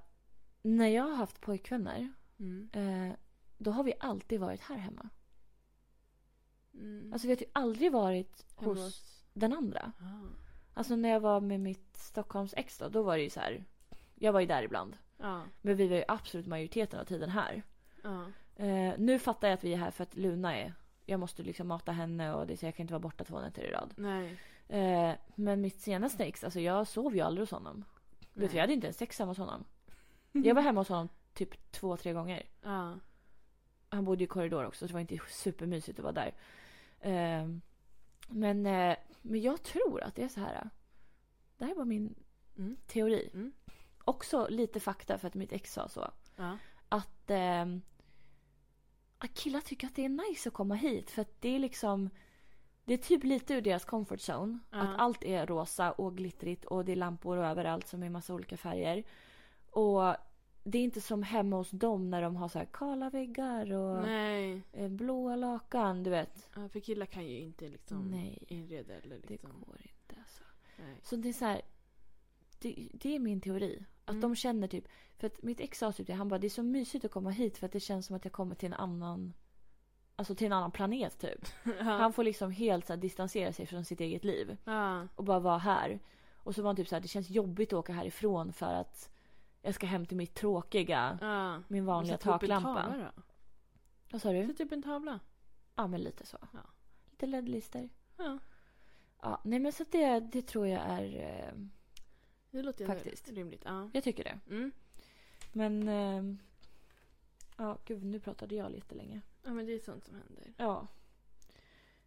A: När jag har haft pojkvänner.
B: Mm.
A: Eh, då har vi alltid varit här hemma.
B: Mm.
A: Alltså vi har ju aldrig varit
B: Hemma
A: hos den andra.
B: Ja.
A: Alltså när jag var med mitt Stockholms ex då. Då var det ju så här. Jag var ju där ibland.
B: Ja.
A: Men vi var ju absolut majoriteten av tiden här.
B: ja.
A: Eh, nu fattar jag att vi är här för att Luna är. Jag måste liksom mata henne och det, så jag kan inte vara borta två nätter i rad.
B: Nej.
A: Eh, men mitt senaste ex, alltså jag sov ju aldrig hos honom. Vet du, jag hade inte ens sex hemma hos honom. Jag var hemma hos honom typ två, tre gånger.
B: Ja.
A: Han bodde i korridor också så det var inte supermysigt att vara där. Ehm, men, eh, men jag tror att det är så här. eh, Det här var min
B: Mm.
A: teori.
B: Mm.
A: Också lite fakta för att mitt ex sa så.
B: Ja.
A: Att, ehm, att killar tycker att det är nice att komma hit för att det är liksom det är typ lite ur deras comfort zone.
B: Ja.
A: Att allt är rosa och glittrigt och det är lampor överallt som är massa olika färger. Och det är inte som hemma hos dem när de har så här kala väggar och
B: Nej.
A: eh, blåa lakan, du vet.
B: Ja, för killar kan ju inte liksom
A: Nej,
B: inreda eller
A: det
B: liksom.
A: går inte alltså.
B: Nej.
A: Så det är så här. Det, det är min teori. Att
B: Mm.
A: de känner typ, för att mitt ex sa typ det, han bara det är så mysigt att komma hit för att det känns som att jag kommer till en annan, alltså till en annan planet typ.
B: Ja.
A: Han får liksom helt så här, distansera sig från sitt eget liv.
B: ja.
A: och bara vara här. Och så var han typ så här, det känns jobbigt att åka härifrån för att jag ska hem till mitt tråkiga,
B: ja.
A: min vanliga Mm.
B: Sätt upp en
A: taklampa.
B: tavla då.
A: Vad sa du?
B: Sätt upp en tavla.
A: Ja men lite så.
B: Ja.
A: Lite LED-lister.
B: Ja.
A: Ja, nej men så att det, det tror jag är, eh,
B: Det låter ju ändå
A: Faktiskt.
B: rimligt. Ja.
A: jag tycker det.
B: Mm.
A: ehm, Men, eh, ja gud nu pratade jag lite länge.
B: Ja men det är sånt som händer.
A: Ja.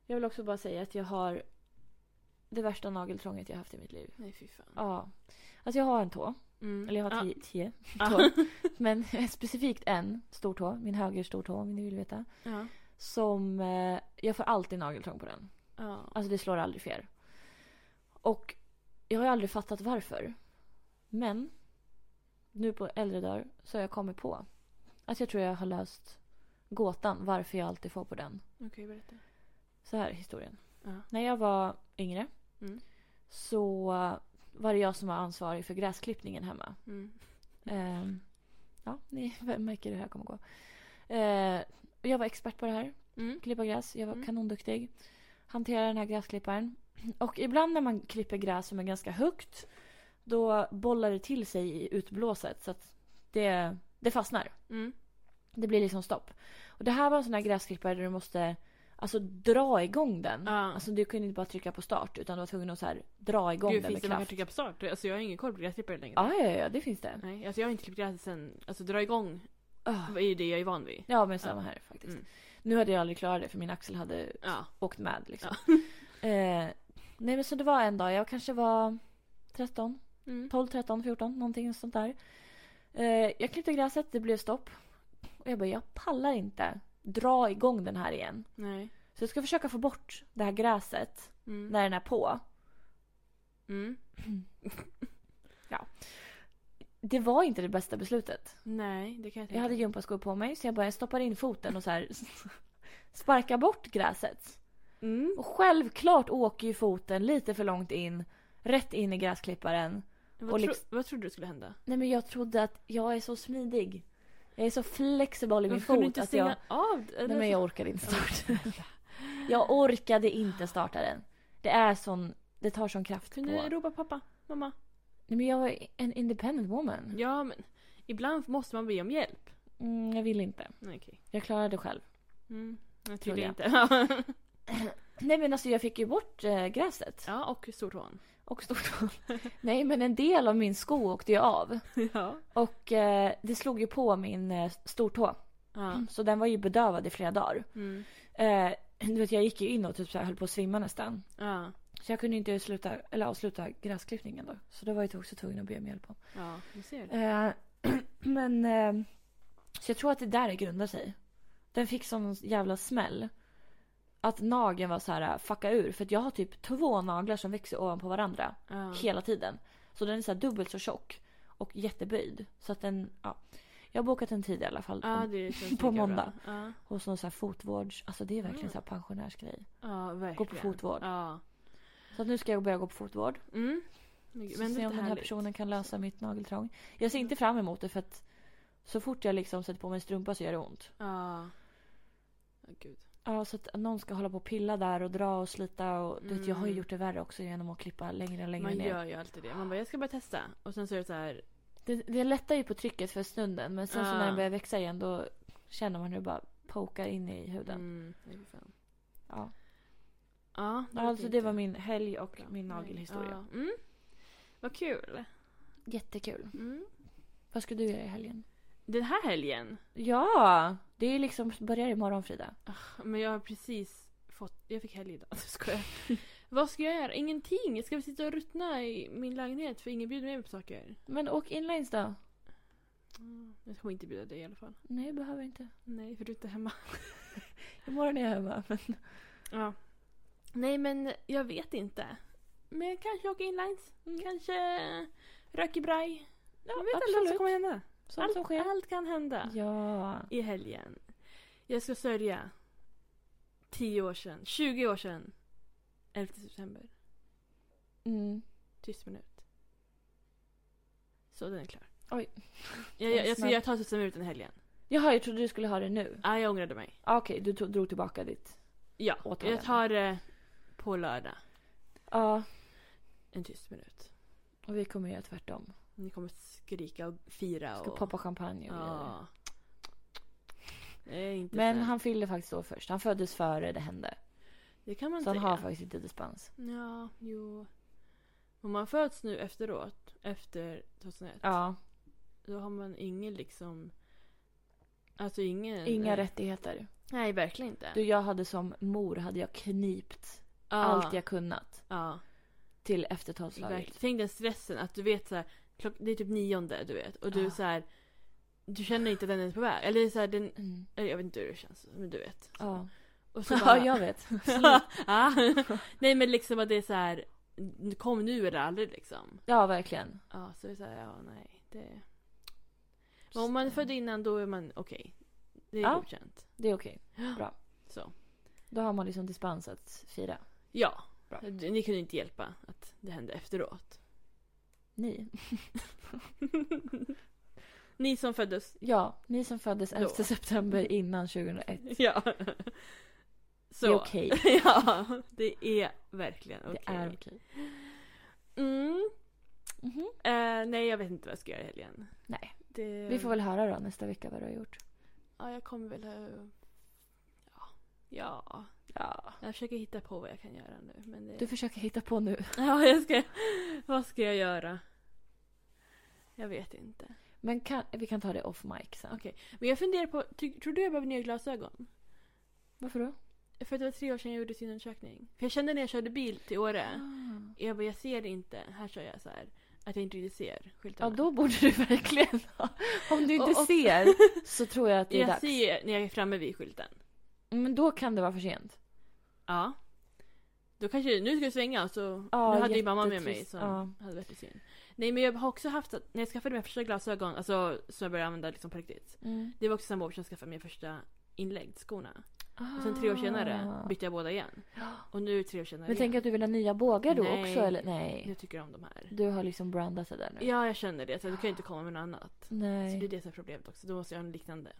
A: Jag vill också bara säga att jag har det värsta nageltrånget jag haft i mitt liv.
B: Nej fy fan.
A: Ja. Alltså jag har en tå.
B: Mm.
A: Eller jag har
B: Ja.
A: tio, tio
B: Ja.
A: tår. Men specifikt en stortå. Min höger stortå om ni vill veta.
B: Ja.
A: Som... Eh, jag får alltid nageltrång på den.
B: Ja.
A: Alltså det slår aldrig fel. Och jag har ju aldrig fattat varför. Men nu på äldre dagar så har jag kommit på att jag tror jag har löst gåtan varför jag alltid får på den.
B: Okej berätta.
A: Så här är historien.
B: Ja.
A: När jag var yngre
B: Mm.
A: så var det jag som var ansvarig för gräsklippningen hemma.
B: Mm.
A: Ehm, ja, ni märker hur det här kommer gå. Ehm, och jag var expert på det här
B: Mm.
A: klippa gräs. Jag var
B: Mm.
A: kanonduktig. Hanterade den här gräsklipparen. Och ibland när man klipper gräs som är ganska högt då bollar det till sig i utblåset så att det, det fastnar.
B: Mm.
A: Det blir liksom stopp. Och det här var en sån här gräsklippare där du måste alltså dra igång den.
B: Ja.
A: Alltså du kunde inte bara trycka på start utan du var tvungen att så här, dra igång
B: Gud
A: den med
B: finns det man kan
A: kraft.
B: trycka på start? Alltså jag har ingen koll på gräsklippare längre.
A: Ja, ja, ja, det finns det.
B: Nej, alltså jag har inte klippt gräset sen, alltså dra igång
A: Ah.
B: är ju det jag är van vid.
A: Ja, men samma här faktiskt.
B: Mm.
A: Nu hade jag aldrig klarat det för min axel hade
B: Ja.
A: åkt med liksom. eh, nej men så det var en dag, jag kanske var 13,
B: Mm.
A: 12, 13, 14 någonting sånt där. Eh, jag klippte gräset, det blev stopp. Och jag bara, jag pallar inte dra igång den här igen.
B: Nej.
A: Så jag ska försöka få bort det här gräset
B: Mm.
A: när den är på.
B: Mm.
A: Det var inte det bästa beslutet.
B: Nej, det kan jag tänka
A: Jag hade
B: mig.
A: gympaskor på mig så jag bara jag stoppar in foten och så här sparkar bort gräset.
B: Mm.
A: Och självklart åker ju foten lite för långt in, rätt in i gräsklipparen.
B: Vad,
A: och
B: tro,
A: liksom-
B: vad trodde du skulle hända?
A: Nej men jag trodde att jag är så smidig. Jag är så flexibel i min
B: Varför kunde du
A: fot
B: inte
A: att jag...
B: stänga av? det?
A: Nej men jag orkade inte starta. jag orkade inte starta den. Det är sån... Det tar sån kraft på.
B: Kunde du
A: Nej
B: ropa pappa, mamma?
A: men jag var en independent woman.
B: Ja, men ibland måste man be om hjälp.
A: Mm, jag ville inte.
B: Nej, Okej.
A: Jag klarade det själv.
B: Mm. Jag
A: Trodde
B: trodde
A: jag.
B: inte.
A: Nej men alltså jag fick ju bort eh, gräset.
B: ja, och stortån.
A: Och stortån. Nej men en del av min sko åkte ju av.
B: Ja.
A: Och eh, det slog ju på min eh, stortå.
B: ja.
A: Så den var ju bedövad i flera dagar.
B: Mm.
A: Eh, du vet jag gick ju in och typ så här, höll på att svimma nästan.
B: Ja.
A: Så jag kunde inte sluta, eller avsluta gräsklippningen då. Så då var jag också tvungen att be om hjälp om.
B: Ja, du ser. det.
A: Eh, men... Eh, så jag tror att det där det grundar sig. Den fick sån jävla smäll. Att nageln var så här äh, fucka ur. För att jag har typ två naglar som växer ovanpå varandra.
B: Ja.
A: Hela tiden. Så den är så här dubbelt så tjock. Och jätteböjd. Så att den, ja. Jag har bokat en tid i alla fall.
B: Ja, det känns
A: På
B: lika bra.
A: måndag.
B: Ja,
A: Hos någon så här fotvårds... Alltså det är verkligen
B: Mm.
A: så här pensionärsgrej.
B: ja verkligen.
A: Gå på fotvård.
B: Ja.
A: Så att nu ska jag börja gå på fotvård.
B: Mm. Men
A: Så se om den här personen kan lösa mitt nageltrång. Jag ser inte fram emot det för att så fort jag liksom sätter på mig en strumpa så gör det ont.
B: Ja. Ja, gud.
A: Ja, så att någon ska hålla på och pilla där och dra och slita och du vet, jag har ju
B: Mm.
A: gjort det värre också genom att klippa längre och längre
B: Man
A: ner.
B: gör ju alltid det. Man bara, jag ska bara testa. Och sen så är det så här.
A: Det, det lättar ju på trycket för stunden men sen så
B: Ja.
A: när det börjar växa igen då känner man hur det bara pokar in i huden.
B: Mm, nej, fy fan.
A: Ja.
B: Ja,
A: Ja, alltså det var min helg och min nagelhistoria.
B: Ja. Mm. Vad kul.
A: Jättekul.
B: Mm.
A: Vad ska du göra i helgen?
B: Den här helgen.
A: Ja! Det är liksom börjar imorgon Frida.
B: Men jag har precis fått... Jag fick helg idag. Jag skojar. Vad ska jag göra? Ingenting. Jag ska väl sitta och ruttna i min lägenhet för ingen bjuder mig på saker.
A: Men åk inlines då.
B: Mm. Jag kommer inte bjuda dig i alla fall.
A: Nej, behöver inte.
B: Nej, för du är inte hemma.
A: Imorgon är jag hemma. Men...
B: Ja. Nej, men jag vet inte. Men jag kanske åker inlines. Kanske röker braj.
A: Ja,
B: Mm. jag vet aldrig vad som kommer hända.
A: Sånt som sker.
B: allt kan hända.
A: Ja.
B: i helgen. Jag ska sörja 10 år sedan, 20 år sedan. 11 september.
A: Mm.
B: Tyst minut. Så den är klar.
A: Oj.
B: Jag, jag,
A: Vad
B: jag, ska
A: snabbt.
B: göra ta tysta minuten i helgen.
A: Jaha, jag trodde du skulle ha det nu.
B: Ah, jag ångrade mig.
A: Ah, Okej, du tog, drog tillbaka ditt.
B: Ja,
A: Åtagande.
B: jag tar eh, på lördag
A: Ja,
B: en tyst minut.
A: och vi kommer göra tvärtom.
B: Ni kommer skrika och fira
A: Vi
B: och...
A: ska poppa champagne och grejer.
B: Ja. Det är inte
A: Men
B: snällt.
A: han fyllde faktiskt år först. Han föddes före det hände.
B: Det kan man
A: Så han
B: säga.
A: har faktiskt inte dispens.
B: Ja, jo. Om man föds nu efteråt, efter 2001.
A: Ja,
B: Då har man ingen liksom... Alltså ingen...
A: inga
B: eh,
A: rättigheter.
B: Nej, verkligen inte.
A: Du, jag hade som mor hade jag knipt
B: ja,
A: allt jag kunnat
B: Ja,
A: till efter tolvslaget.
B: verkligen. Tänk den stressen att du vet så här, klock, det är typ nionde du vet och du
A: Ja.
B: så här, du känner inte att den är på väg. Eller så här, den,
A: Mm.
B: eller jag vet inte hur det känns, men du vet. Så.
A: Ja.
B: Och så
A: ja,
B: bara,
A: jag vet.
B: ah. Nej men liksom att det är så här, kom nu eller aldrig liksom.
A: Ja, verkligen.
B: Ja, så det är så här, ja nej. Det... Men om man är född innan då är man okej. Det är
A: Ja.
B: godkänt.
A: Det är okej. Bra.
B: Så.
A: Då har man liksom dispens att fira.
B: Ja.
A: Bra.
B: Du- Ni kunde inte hjälpa att det hände efteråt.
A: Ni.
B: Ni som föddes.
A: Ja, ni som föddes
B: Då.
A: 11 september innan 2001.
B: Ja. Så.
A: Det är okej.
B: ja, det är verkligen okej.
A: Det är okej.
B: Mm.
A: Mhm.
B: Eh, nej, jag vet inte vad jag ska göra i helgen.
A: Nej.
B: Det...
A: Vi får väl höra då nästa vecka vad du har gjort.
B: Ja, jag kommer väl... eh, Ja. ja.
A: Ja.
B: Jag försöker hitta på vad jag kan göra nu. Men det...
A: Du försöker hitta på nu.
B: Ja, jag ska... Vad ska jag göra? Jag vet inte.
A: Men kan, vi kan ta det off mic sen.
B: Okej. Men jag funderar på, ty, tror du jag behöver nya glasögon?
A: Varför då?
B: För att det var tre år sedan jag gjorde sin undersökning. För jag kände när jag körde bil till Åre,
A: Ah.
B: jag bara, jag ser inte, här kör jag så här, att jag inte riktigt ser skyltarna.
A: Ja, då borde du verkligen ha. Om du inte
B: Och- och-
A: ser så tror jag att det är
B: jag
A: dags.
B: ser när jag är framme vid skylten.
A: Men då kan det vara för sent.
B: Ja. Då kanske, nu ska jag svänga så,
A: Ja,
B: nu hade ju mamma med mig
A: jättetrist.
B: som
A: Ja.
B: hade bättre syn. Nej men jag har också haft, att- när jag skaffade mina första glasögon, alltså som jag började använda liksom på riktigt.
A: Mm.
B: Det var också samma år som jag skaffade mina första inläggsskorna. Och sen tre år senare
A: Ah.
B: bytte jag båda igen.
A: Ja.
B: Och nu tre år senare
A: Men tänk
B: igen.
A: att du vill ha nya bågar då
B: Nej.
A: också eller? Nej.
B: Jag tycker om de här.
A: Du har liksom brandat det där nu.
B: Ja, jag känner det. Så du kan ju inte komma med något annat. Så det är
A: Nej.
B: det som är problemet också. Då måste jag ha en liknande.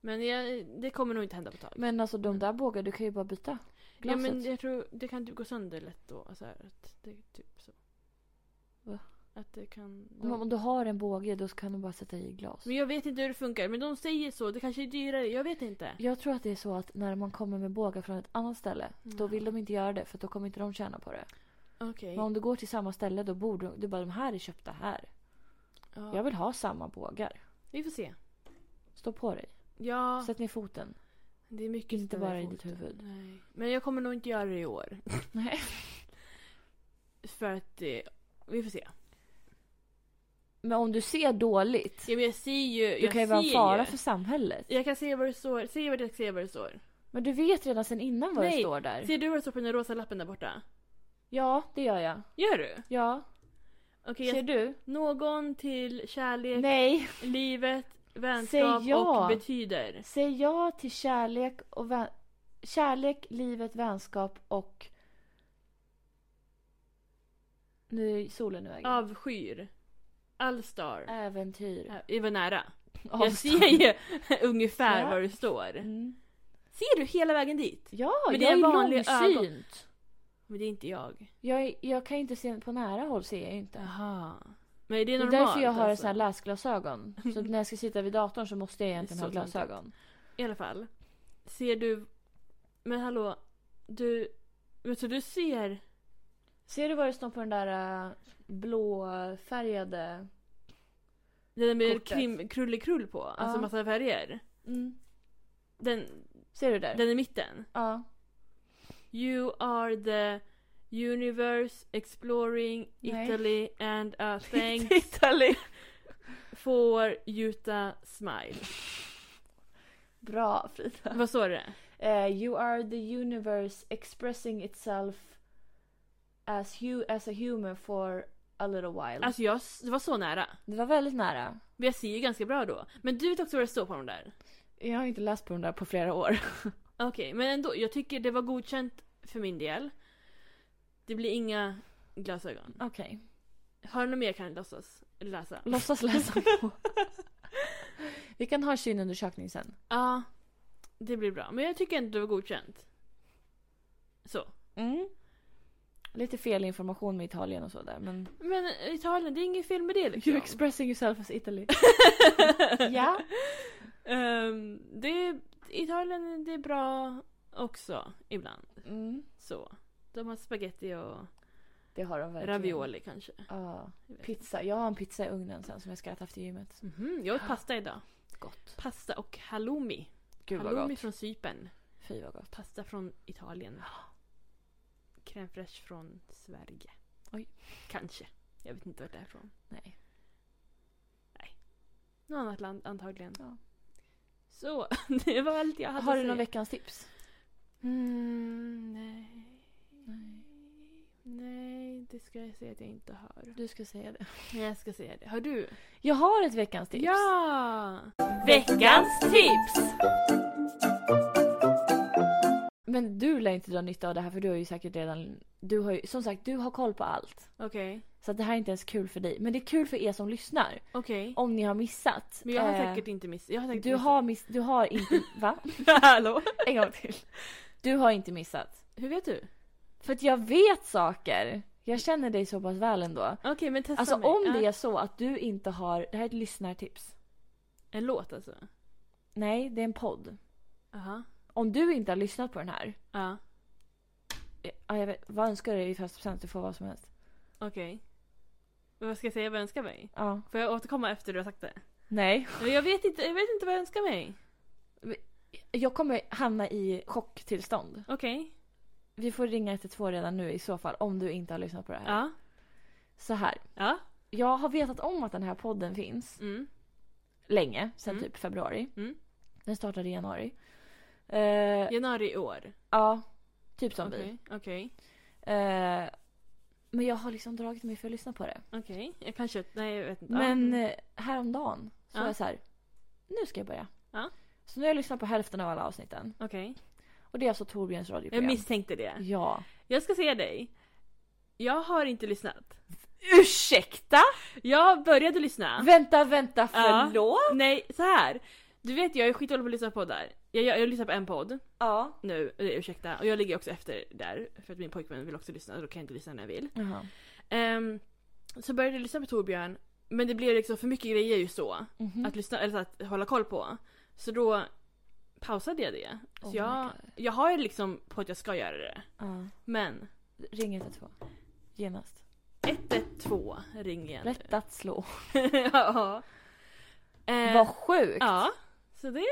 B: Men jag, det kommer nog inte hända på ett tag.
A: Men alltså de där bågar, du kan ju bara byta.
B: ja,
A: Glaset.
B: men jag tror det kan typ gå sönder lätt då. Så här, att det är typ så.
A: Va?
B: Att det kan...
A: Om, om
B: De,
A: du har en båge då kan du bara sätta i glas.
B: men jag vet inte hur det funkar. Men de säger så. Det kanske är dyrare. Jag vet inte.
A: Jag tror att det är så att när man kommer med bågar från ett annat ställe då
B: Mm.
A: vill de inte göra det för då kommer inte de tjäna på det.
B: Okej.
A: Men om du går till samma ställe då borde du bara de här är köpta här. Jag
B: Ja.
A: vill ha samma bågar.
B: Vi får se.
A: Stå på dig.
B: Ja.
A: Sätt ner foten.
B: Det är mycket
A: Inte
B: som ställer
A: bara i
B: foten.
A: ditt huvud.
B: Nej. Men jag kommer nog inte göra det i år.
A: Nej.
B: För att eh, vi får se.
A: Men om du ser dåligt.
B: Ja, men jag ser ju.
A: Du
B: jag
A: kan ju vara en
B: ser
A: fara
B: ju.
A: för samhället.
B: Jag kan se vad det står. Se vad det, se vad det står.
A: Men du vet redan sen innan vad det
B: Nej.
A: står där.
B: Ser du vad det står på den där rosa lappen där borta?
A: Ja, det gör jag.
B: Gör du?
A: Ja.
B: Okej,
A: Ser
B: jag...
A: du?
B: någon till kärlek,
A: Nej.
B: livet, vänskap
A: Säg ja.
B: och betyder.
A: Säg ja till kärlek och vän... Kärlek, livet, vänskap och... Nu är solen i vägen.
B: Avskyr. Allstar.
A: Äventyr.
B: Äh, Det var nära. Jag
A: Avstånd.
B: ser ju ungefär
A: Ja.
B: vad det står.
A: Mm.
B: Ser du hela vägen dit?
A: Ja,
B: Men det
A: jag
B: är
A: är,
B: vanliga
A: långsynt.
B: Men det är inte jag.
A: Jag, är, jag kan inte se på nära håll ser jag inte.
B: Jaha. Men är det
A: Det är
B: normalt?
A: därför jag har
B: alltså?
A: såna här läsglasögon. Så att när jag ska sitta vid datorn så måste jag egentligen
B: Det är
A: ha
B: så töntigt.
A: glasögon.
B: I alla fall. Ser du... Men hallå. Du... Men så du ser...
A: Ser du vad det står på den där äh, blåfärgade...
B: Den där med
A: Kortet.
B: krim, krullikrull på. Alltså
A: Ja.
B: massa färger.
A: Mm.
B: Den,
A: Ser du där?
B: den i mitten.
A: Ja.
B: You are the universe exploring
A: Nej.
B: Italy and a thanks
A: Italy.
B: for Utah smile.
A: Bra Frida.
B: Vad står det?
A: Eh, you are the universe expressing itself as, you, as a human for a little while.
B: Alltså jag, s- det var så nära.
A: det var väldigt nära.
B: Men jag ser ju ganska bra då. Men du vet också vad det står på de där?
A: Jag har inte läst på den där på flera år.
B: Okej, men ändå. Jag tycker det var godkänt för min del. Det blir inga glasögon.
A: Okej.
B: Har du något mer kan jag låtsas läsa? Ja.
A: Låtsas läsa på. Vi kan ha synundersökning sen.
B: det blir bra. Men jag tycker ändå det var godkänt. Så.
A: Mm. Lite fel information med Italien och så där men...
B: Men Italien, det är inget fel med det
A: You're
B: liksom.
A: expressing yourself as Italy. ja.
B: Ehm, det, Italien, det är bra också ibland.
A: Mm.
B: Så. De har spaghetti och
A: Det har de verkligen.
B: ravioli kanske.
A: Ja.
B: Jag vet
A: Pizza. Jag har en pizza i ugnen sen som jag ska äta efter gymmet.
B: inte. Mhm, jag åt pasta idag.
A: Gott.
B: Pasta och halloumi.
A: Gud vad
B: Halloumi
A: gott.
B: från Cypern.
A: Fy vad gott.
B: Pasta från Italien. Crème fraîche från Sverige.
A: Oj.
B: Kanske. Jag vet inte vart det är från.
A: Nej.
B: Något annat land antagligen.
A: Ja.
B: Så, det var allt jag hade
A: Har
B: att
A: du
B: säga.
A: någon veckans tips?
B: Mm, nej.
A: Nej.
B: Nej, det ska jag säga att jag inte har.
A: Du ska säga det.
B: Nej, jag ska säga det. Har du?
A: Jag har ett veckans tips.
B: Ja!
A: Veckans tips! Men du lär inte dra nytta av det här för du har ju säkert redan... Du har ju, som sagt, du har koll på allt.
B: Okej.
A: Så att det här är inte ens kul för dig. Men det är kul för er som lyssnar.
B: Okej.
A: Om ni har missat.
B: Men jag har
A: Eh,
B: säkert inte missat. Jag har säkert
A: Du
B: missat.
A: har, miss, du har inte... Va?
B: Hallå?
A: En gång till. Du har inte missat.
B: Hur vet du?
A: För att jag vet saker. Jag känner dig så pass väl ändå.
B: Okej, men testa
A: Alltså
B: mig.
A: om
B: Ja.
A: det är så att du inte har... Det här är ett lyssnartips.
B: En låt alltså?
A: Nej, det är en podd.
B: Aha.
A: Om du inte har lyssnat på den här. eh,
B: Ja.
A: Ja, jag vet, vad önskar du i födelsedagspresent? Du får vad som helst.
B: Okej. Men Vad ska jag säga vad jag önskar mig?
A: Ja.
B: Får jag återkomma efter du har sagt det?
A: Nej.
B: Men jag vet inte, jag vet inte vad jag önskar mig.
A: Jag kommer hamna i chocktillstånd.
B: Okej.
A: Vi får ringa 112 redan nu i så fall om du inte har lyssnat på det här.
B: Ja.
A: Så här.
B: Ja.
A: Jag har vetat om att den här podden finns
B: Mm.
A: länge, sedan
B: Mm.
A: typ februari.
B: Mm.
A: Den startade i januari. Eh,
B: Januari i år.
A: ja, typ som vi.
B: Okej. Okej.
A: Eh, men jag har liksom dragit mig för att lyssna på det.
B: Okej. Jag kanske... Nej, jag vet inte.
A: Men
B: Ja. Mm.
A: eh, häromdagen så
B: Ja.
A: var jag så här. nu ska jag börja.
B: Ja.
A: Så nu har jag lyssnat på hälften av alla avsnitten.
B: Okej.
A: Och det är alltså Torbjörns
B: Jag
A: radioprogram.
B: misstänkte det.
A: Ja.
B: Jag ska säga dig. Jag har inte lyssnat.
A: Ursäkta?
B: Jag började lyssna.
A: Vänta, vänta,
B: Ja.
A: förlåt?
B: Nej, så här. Du vet jag är skitdålig på att lyssna på poddar. Jag, jag, jag lyssnar på en podd
A: Ja.
B: nu, eh, ursäkta. Och jag ligger också efter där för att min pojkvän vill också lyssna och då kan jag inte lyssna när jag vill.
A: Jaha.
B: Ehm, så började jag lyssna på Torbjörn men det blev liksom för mycket grejer just då.
A: Mhm.
B: Att lyssna, eller så att hålla koll på. Så då pausade jag det. Så
A: Oh my
B: jag,
A: God.
B: jag har ju liksom på att jag ska göra det.
A: Ja.
B: Men
A: Ring 112. Genast.
B: 112 ring igen.
A: Rätt att slå.
B: ja. Ehm,
A: Vad sjukt!
B: Ja. Så det...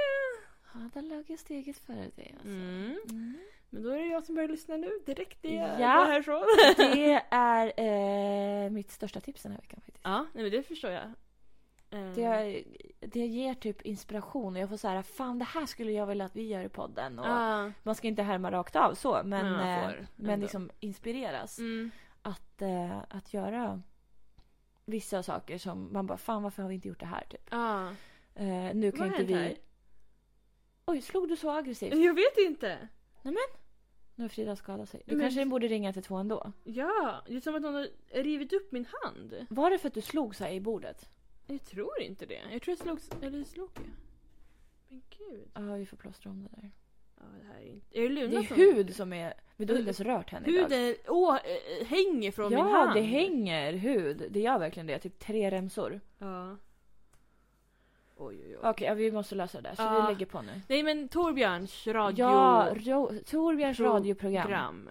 A: Ja, där låg jag steget före dig. Alltså.
B: Mm.
A: Mm.
B: Men då är det jag som börjar lyssna nu direkt när jag
A: Ja.
B: går härifrån.
A: Det är eh, mitt största tips den här veckan faktiskt.
B: Ja, nej men det förstår jag. Eh,
A: Det, det ger typ inspiration och jag får så här, fan det här skulle jag vilja att vi gör i podden. Och
B: ja.
A: Man ska inte härma rakt av så men,
B: Men man
A: eh,
B: får
A: men
B: ändå.
A: liksom inspireras
B: Mm.
A: att, eh, att göra vissa saker som man bara, fan varför har vi inte gjort det här typ.
B: ja.
A: Eh, nu
B: Vad
A: kan
B: har
A: inte
B: hänt
A: vi...
B: här?
A: Oj, slog du så aggressivt?
B: Jag vet inte.
A: Nu har Frida skadat sig. Du
B: Men-
A: kanske borde ringa till två ändå.
B: Ja, det är som att någon har rivit upp min hand.
A: Var det för att du slog så här i bordet?
B: Jag tror inte det. Jag tror jag slogs... Eller slog jag? Men gud.
A: Ja, vi får plåstra om det där.
B: Ja, det här är inte... Är det Luna
A: Det är
B: som...
A: hud som är... Men du har inte ens rört henne idag.
B: Huden å, eh, hänger från min
A: ja,
B: hand.
A: det hänger hud. Det gör verkligen det. Typ tre remsor.
B: Ja. Oj, oj, oj.
A: Okej, ja, vi måste lösa det där. Så
B: Ja.
A: vi lägger på nu.
B: Nej men Torbjörns Ah. radio...
A: Ja, ro, Torbjörns
B: Program.
A: radioprogram.
B: program.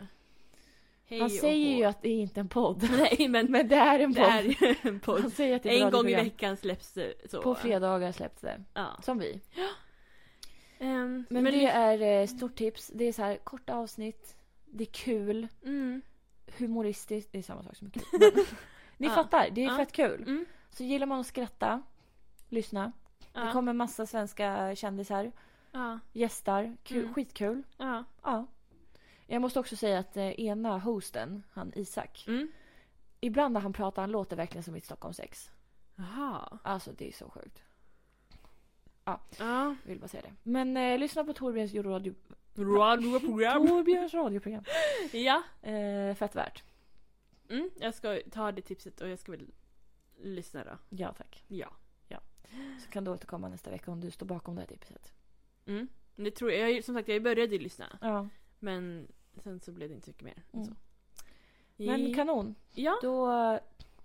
B: Hej
A: Han
B: och
A: säger ju
B: hå.
A: att det är inte är en podd.
B: Nej men
A: Men det är en
B: det
A: podd.
B: är ju en
A: Han
B: podd.
A: säger att det är ett
B: En gång i
A: radioprogram.
B: veckan släpps det så.
A: På fredagar släpps det.
B: Ja.
A: Som vi.
B: Ehm,
A: Men, det
B: ly-
A: är eh, stort tips. Det är så här korta avsnitt. Det är kul.
B: Mm.
A: Humoristiskt. Det är samma sak som är kul. Men, ni
B: Ja.
A: fattar. Det är
B: Ja.
A: fett kul.
B: Mm.
A: Så gillar man att skratta, lyssna.
B: Ja.
A: Det kommer massa svenska kändisar.
B: ja.
A: Gästar. Kul,
B: Mm.
A: Skitkul.
B: Ja.
A: Ja. Jag måste också säga att eh, ena hosten, han Isak.
B: Mm.
A: Ibland när han pratar, han låter verkligen som mitt Stockholmsex.
B: Jaha.
A: Alltså det är så sjukt.
B: Ja.
A: Jag vill bara säga det. Men eh, lyssna på Torbjörns radio...
B: Radioprogram.
A: Torbjörns radioprogram.
B: Ja.
A: Eh, fett värt.
B: Mm. Jag ska ta det tipset och jag ska väl lyssna då.
A: Ja tack.
B: Ja.
A: Så kan du återkomma nästa vecka om du står bakom det här tipset.
B: Mm. Men Det tror jag. jag. är ju- Som sagt jag började ju lyssna.
A: Ja.
B: Men sen så blev det inte så mycket mer. än Så.
A: Mm. Men kanon.
B: Ja.
A: Då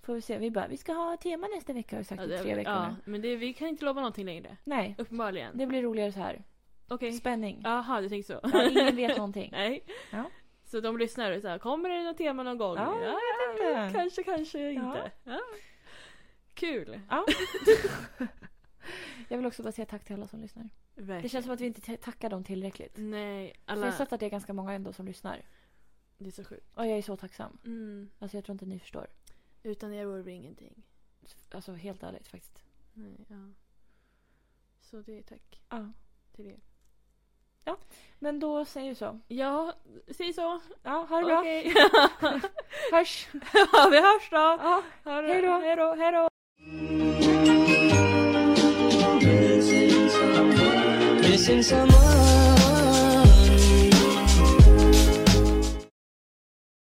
A: får vi se. Vi bara, vi ska ha tema nästa vecka har vi sagt
B: Ja,
A: i
B: det-
A: tre veckor
B: ja,
A: nu.
B: men det, vi kan inte lova någonting längre.
A: Nej,
B: Uppenbarligen.
A: det blir roligare så här.
B: Okej.
A: Spänning.
B: Jaha, du tänker så.
A: Ja, ingen vet någonting.
B: Nej.
A: Ja.
B: Så de lyssnar och så här, kommer det något tema någon gång?
A: Ja, jag vet inte.
B: kanske, kanske
A: Ja.
B: inte. Ja. Kul.
A: Ja. Jag vill också bara säga tack till alla som lyssnar.
B: Verkligen.
A: Det känns som att vi inte ta- tackar dem tillräckligt.
B: Nej,
A: Alla... Jag
B: alla...
A: har sett att det är ganska många ändå som lyssnar.
B: Det är så sjukt.
A: Och jag är så tacksam.
B: Mm.
A: Alltså jag tror inte ni förstår.
B: Utan er vore vi ingenting.
A: Alltså helt ärligt faktiskt.
B: Nej, ja. Så det är tack
A: Ja.
B: till er.
A: Men då säger vi så.
B: Ja, säg så.
A: Ja, ha det bra.
B: Okej.
A: Hörs.
B: ja, vi hörs då.
A: Ja,
B: Ha det.
A: hej då. Hej då. Hej då.
F: Missing someone